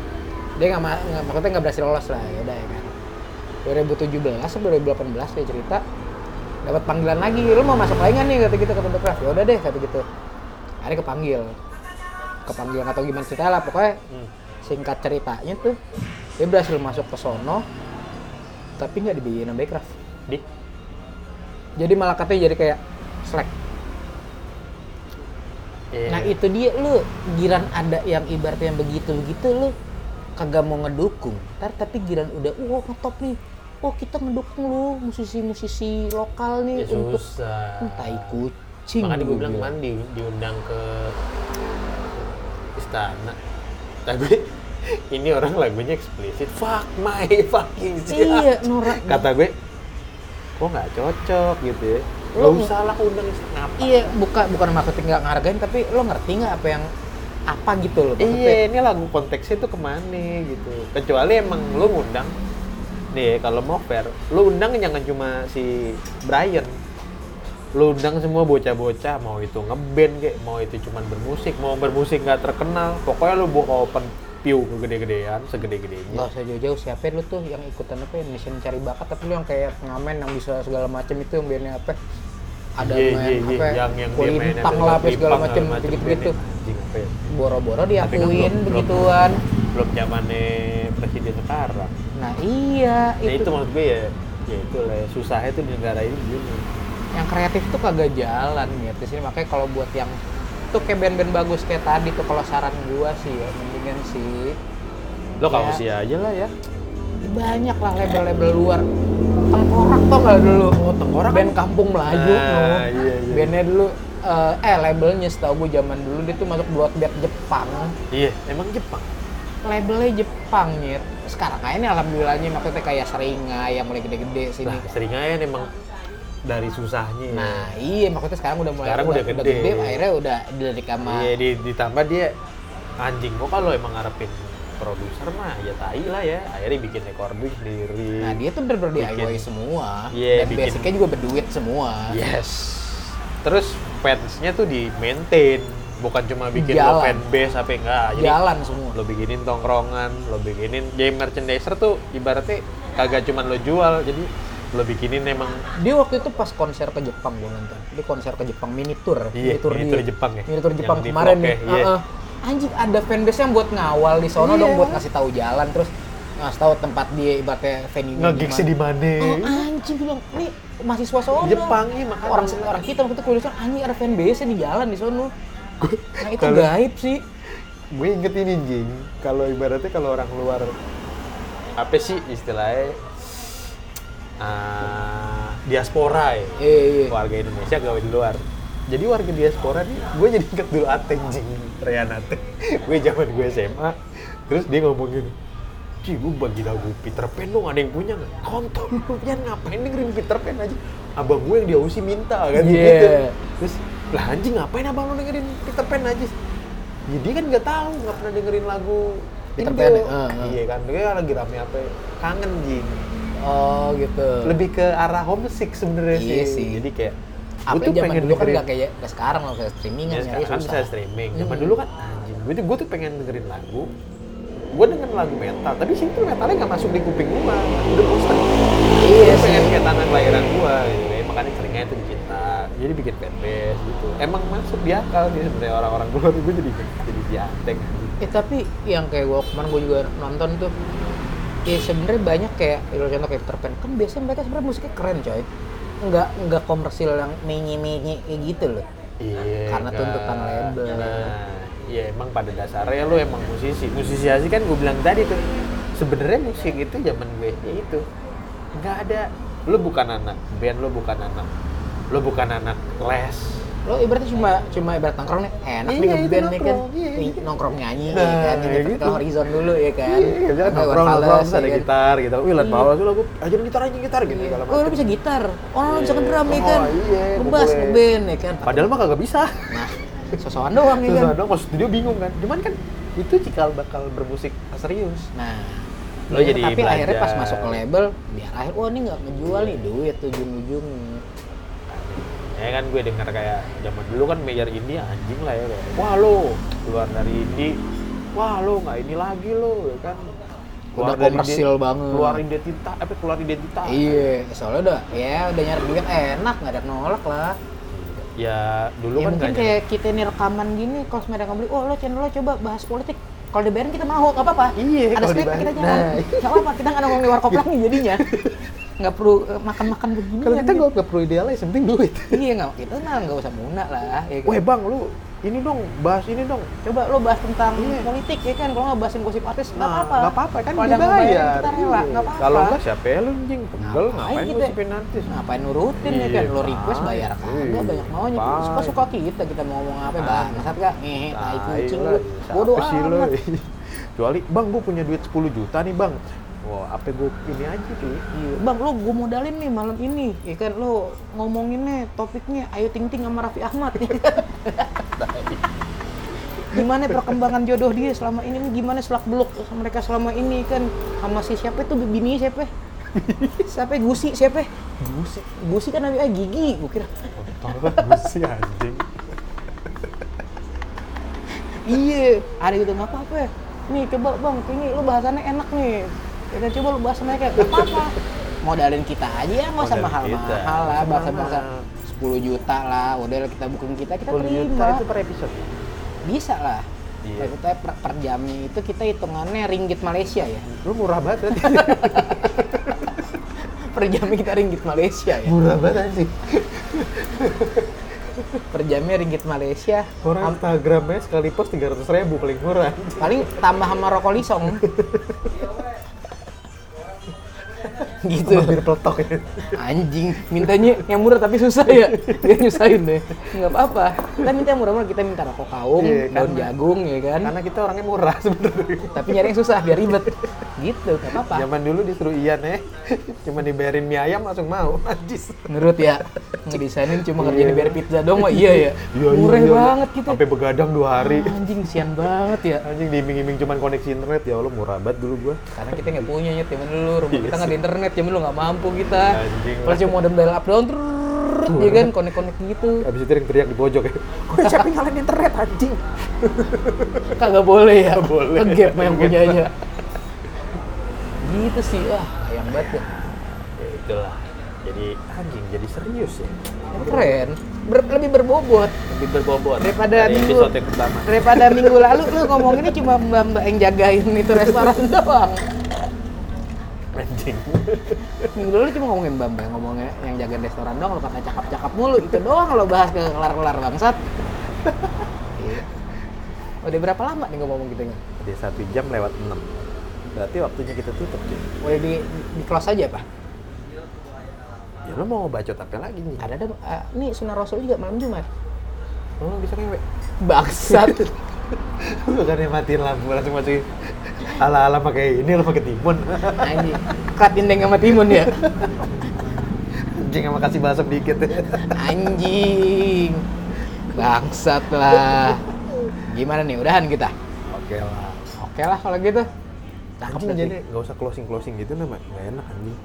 dia nggak ma- nggak- maksudnya nggak berhasil lolos lah ya udah ya kan 2017 sampai 2018 dia cerita dapat panggilan lagi lu mau masuk lagi nggak nih kata gitu kata Backcraft ya udah deh kata gitu akhirnya kepanggil kepanggil nggak tahu gimana ceritanya lah pokoknya hmm. singkat ceritanya tuh dia berhasil masuk ke sono tapi nggak dibiayain sama Backcraft Di, jadi malah katanya jadi kayak slack Iya. nah itu dia lu giran ada yang ibaratnya begitu begitu lu kagak mau ngedukung ntar tapi giran udah wah ngetop nih oh kita ngedukung lu musisi-musisi lokal nih Ya untuk susah. tai kucing Makanya gue gua bilang kemarin di- diundang ke istana. Tapi [laughs] ini orang lagunya eksplisit. Fuck my fucking shit. iya norak [laughs] Kata gue, kok nggak cocok gitu ya. Gak Lo- usah lah undang istana apa. iya buka bukan maksudnya nggak ngargain tapi lo ngerti nggak apa yang apa gitu loh maksudnya Iya, ini lagu konteksnya tuh kemana gitu. Kecuali emang lu ngundang, nih kalau mau fair, lu undang jangan cuma si Brian. Lu undang semua bocah-bocah, mau itu ngeband kayak, mau itu cuman bermusik, mau bermusik nggak terkenal, pokoknya lu buka open piu gede-gedean, nggak segede-gedenya. usah jauh-jauh siapa lu tuh yang ikutan apa ya Indonesia mencari bakat tapi lu yang kayak pengamen yang bisa segala macem itu yang bandnya apa ada Iya, main iya, iya, apa yang yang dia mainnya kulintang tuh, lah apa segala kulintang, macem macem gitu-gitu bandnya. Anjing, apa ya? boro-boro Tapi kan diakuin belum- belum- Iya, begituan Belum zamannya presiden sekarang. nah iya Nah itu, maksud gue ya, ya itu lah ya, susahnya tuh di negara ini gini. yang kreatif tuh kagak jalan ya di sini makanya kalau buat yang tuh kayak band-band bagus kayak tadi tuh kalau saran gua sih ya mendingan sih Ya. Lo kalau usia aja lah ya. banyak lah label-label luar tengkorak tau nggak dulu oh, tengkorak band kampung melaju Ah, no. kan iya, iya. bandnya dulu eh, eh labelnya setahu gue zaman dulu dia tuh masuk buat band Jepang Iya, emang Jepang. labelnya Jepang nyet sekarang aja nih alhamdulillahnya maksudnya kayak seringai yang mulai gede-gede sini Nah, sering aja nih emang dari susahnya. nah iya maksudnya sekarang udah mulai Sekarang udah udah gede. gede akhirnya udah dari kamar iya di- ditambah dia anjing kok kalau emang ngarepin produser mah ya tai lah ya. Akhirnya bikin recording sendiri. Nah dia tuh bener-bener Bikin- DIY semua Iya, dan bikin- Iya, basicnya juga berduit semua. Yes. Terus fansnya tuh di maintain, bukan cuma bikin lo Jalan. fanbase apa enggak. Jadi Jalan semua. lo bikinin tongkrongan, lo bikinin game merchandiser tuh ibaratnya kagak cuma lo jual, jadi lo bikinin emang Dia waktu itu pas konser ke Jepang gue nonton. Dia konser ke Jepang mini tour, Iya, mini tour Jepang ya. Mini tour Yang Jepang di kemarin vlog nih. ya, iya. Heeh. Anjing ada fanbase yang buat ngawal di sono dong buat ngasih tahu jalan terus ngasih tahu tempat dia ibaratnya venue ngegigsnya di mana. Oh, anjing gue bilang, ini mahasiswa sono. Jepang, iya, makanya. Orang orang kita waktu itu kuliah di sono, anjing ada fanbase di jalan di sono. Nah itu kalau- gaib sih. gue inget ini jing kalau ibaratnya kalau orang luar apa sih istilahnya Ah, diaspora ya Iya, iya. warga Indonesia gawe di luar jadi warga diaspora nih gue jadi inget dulu Ateng jing Rehan Ateng gue zaman gue SMA terus dia ngomong gini Ci, gue bagi lagu Peter Pan dong, ada yang punya nggak? Kontol lu, Yan, ngapain dengerin Peter Pan aja? Abang gue yang di Aussie minta, kan? Iya. Gitu. Terus, lah anjing ngapain abang lu dengerin Peter Pan aja? Ya, dia kan nggak tahu, nggak pernah dengerin lagu Peter Indo. Pan ya? Ah, ah. Iya kan, dia lagi rame apa? ya? Kangen, Jing Oh gitu. lebih ke arah homesick sebenarnya sih. Iya sih. Jadi kayak Apa gua tuh zaman pengen dulu kan dengerin- nggak kayak nggak sekarang loh kayak streamingan Ya, ya, sekarang kan bisa streaming. Zaman Hmm. dulu kan anjing, gue tuh, gue tuh pengen dengerin lagu. Gue dengerin lagu metal, tapi sini tuh metalnya nggak masuk di kuping gua. Udah bosan. Iya Gue sih. pengen kayak tanah kelahiran gua gitu. ya. Makanya seringnya itu dicinta. Jadi bikin fanbase gitu. Emang masuk di akal sih sebenarnya orang-orang luar gue jadi jadi jantek. Eh tapi yang kayak gue kemarin gue juga nonton tuh, ya sebenarnya banyak kayak ya contoh kayak Peter Pan kan biasanya mereka sebenarnya musiknya keren coy, nggak nggak komersil yang menye menye kayak gitu loh. Iya. Karena nggak. tuntutan label. Nah, iya emang pada dasarnya lu emang musisi. Musisi asli kan gue bilang tadi tuh. Sebenarnya musik itu zaman gue ya itu. Nggak ada. Lu bukan anak band, lu bukan anak. Lu bukan anak les. Lo ibaratnya cuma cuma ibarat nongkrong nih "Eh, enak nih Iya, itu ngeband nih kan, nongkrong, iya, Nih, iya. nongkrong nyanyi ya kan, Nah, ini kayak vertical gitu. horizon dulu ya kan. Iya, Sampai jangan nongkrong, Gonzales, nongkrong, terus ya ada kan. gitar gitu. Wih, Lan Iya. Paul, lu gue ajarin gitar aja gitar gitu. Iya. segala Oh lo macem. bisa gitar, oh lo bisa Iya. ngedrum ya Oh, kan, iya, ngebas boleh. ngeband ya kan. Padahal mah kagak bisa. Nah, sosokan doang ya kan. Susah dong, masuk studio bingung kan. Cuman kan itu cikal bakal bermusik serius. Nah, Lo iya, jadi tapi akhirnya pas belajar. masuk ke label, biar akhir wah ini nggak ngejual nih duit ujung-ujung. ya kan gue denger kayak zaman dulu kan major indie anjing lah ya kayak, wah lo keluar dari indie wah lo nggak ini lagi lo ya kan Udah komersil ide- banget. keluar identitas apa keluar identitas Iya, soalnya udah ya udah nyari duit enak nggak ada yang nolak lah. ya dulu ya kan mungkin nggak kayak kita nih rekaman gini, kalau mereka nggak beli, oh lo channel lo coba bahas politik. Kalau dibayarin kita mau, nggak apa-apa. Iya, ada kalau sedikit dibayar. kita Nah. [laughs] jalan. Nggak apa-apa, kita nggak nongol di warkop lagi jadinya. nggak perlu eh, makan-makan begini. Kalau kita nggak nggak perlu idealis, yang penting duit. Iya nggak, kita mah nggak usah muna lah. Ya, kan? Weh bang, lu ini dong, bahas ini dong. Coba lo bahas tentang Iya. politik ya kan, kalau nggak bahasin gosip artis nggak Nah, apa-apa. nggak apa-apa kan Kalau ada yang dibayar. ngebayar, Kita rela, Iya. nggak apa-apa. Kalau nggak siapa ya lu anjing pegel Ngapain ngapain lu kita? sipin artis? ngapain nurutin ya Iya, kan lo request bayar fine. kagak Iya, banyak maunya fine. suka suka kita kita mau ngomong apa Fine. bangsat gak ngehe tai Nah, Tai kucing lah, iya, lu siapa bodoh sih lu? [laughs] amat Kecuali, bang gue punya duit 10 juta nih bang. Wah, apa gue ini aja tuh? Iya, bang lo gue modalin nih malam ini ya kan lo ngomonginnya topiknya ayo ting ting sama Raffi Ahmad [laughs] ya kan? gimana perkembangan jodoh dia selama ini gimana selak beluk mereka selama ini kan sama si siapa itu bini siapa siapa gusi siapa gusi gusi kan namanya gigi gue kira Tolong gue sih anjing. iya ada gitu nggak apa-apa ya. nih coba bang ini lu bahasannya enak nih kita coba lu bahas mereka nggak [laughs] apa-apa modalin kita aja ya nggak usah Modalin mahal kita. mahal lah Nggak usah bahasa bahasa mahal. 10 juta lah udah lah kita booking kita kita 10 juta terima itu per episode. bisa lah Iya. Maksudnya per, per jamnya itu kita hitungannya ringgit Malaysia ya Lu murah banget [laughs] kan? per jamnya kita ringgit Malaysia ya murah banget sih. per jamnya ringgit Malaysia Orang Instagramnya sekali post 300 ribu paling murah. paling tambah sama rokok lisong [laughs] gitu Hampir peletok ya. anjing mintanya yang murah tapi susah ya dia nyusahin deh nggak apa-apa kita minta yang murah-murah kita minta rokok kaung daun Iya, karena- jagung ya kan Karena kita orangnya murah [laughs] sebenarnya. tapi nyari yang susah biar ribet gitu nggak apa-apa Zaman dulu disuruh Ian ya, [laughs] cuma dibayarin mie ayam langsung mau, [laughs] najis. nurut ya ngedesainin cuma kerja di Iya. biar pizza doang mah iya ya murah banget Hmm. gitu Sampai begadang dua hari. anjing sian banget ya Anjing diiming-iming cuman koneksi internet ya Allah murah banget dulu gua. karena kita nggak punya ya temen lu rumah Iya kita nggak ada internet zaman lu nggak mampu kita Anjing lah. kalau cuma modem dial up down trrrr, ya kan konek konek [laughs] gitu Abis itu yang teriak di pojok [laughs] ya. Udah siapa yang nyalain internet anjing? kagak boleh ya Nggak boleh. Kegep mah yang [laughs] Kegep. punyanya gitu sih wah sayang banget ya Ya itulah. Jadi anjing jadi serius ya. Tapi keren Ber- lebih berbobot Lebih berbobot daripada dari minggu episode yang pertama. daripada minggu lalu lu ngomonginnya cuma mbak mbak yang jagain itu restoran [laughs] doang Anjing. minggu lalu cuma ngomongin mbak mbak yang ngomongin yang jagain restoran doang lo kata cakap cakap mulu itu doang lo bahas ke kelar kelar [laughs] bangsat Iya. udah berapa lama nih ngomong gitu nih Jadi satu jam lewat enam. Berarti waktunya kita tutup cuy. boleh di, di close aja pak Ya lu mau bacot apa lagi nih? ada ada eh, ini sunnah rasul juga malam jumat Lu bisa ngewe. [laughs] bangsat Bukannya matiin lampu langsung masukin ala-ala pakai ini lu pakai timun. [laughs] Anjing. Klat indeng sama timun ya. Anjing emang kasih bahasa dikit ya. Anjing. Bangsat lah. Gimana nih, udahan kita? Oke lah. Oke lah kalau gitu. Cakep Anjing jadi. jadi nggak usah closing closing gitu nama nggak enak anjing.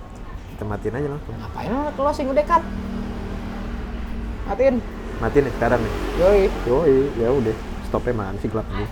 Kita matiin aja langsung. Ngapain lo closing udah cut? Matiin. Matiin nih sekarang ya. nih. Yoi. Yoi, ya udah. Stopnya mana sih gelap nih?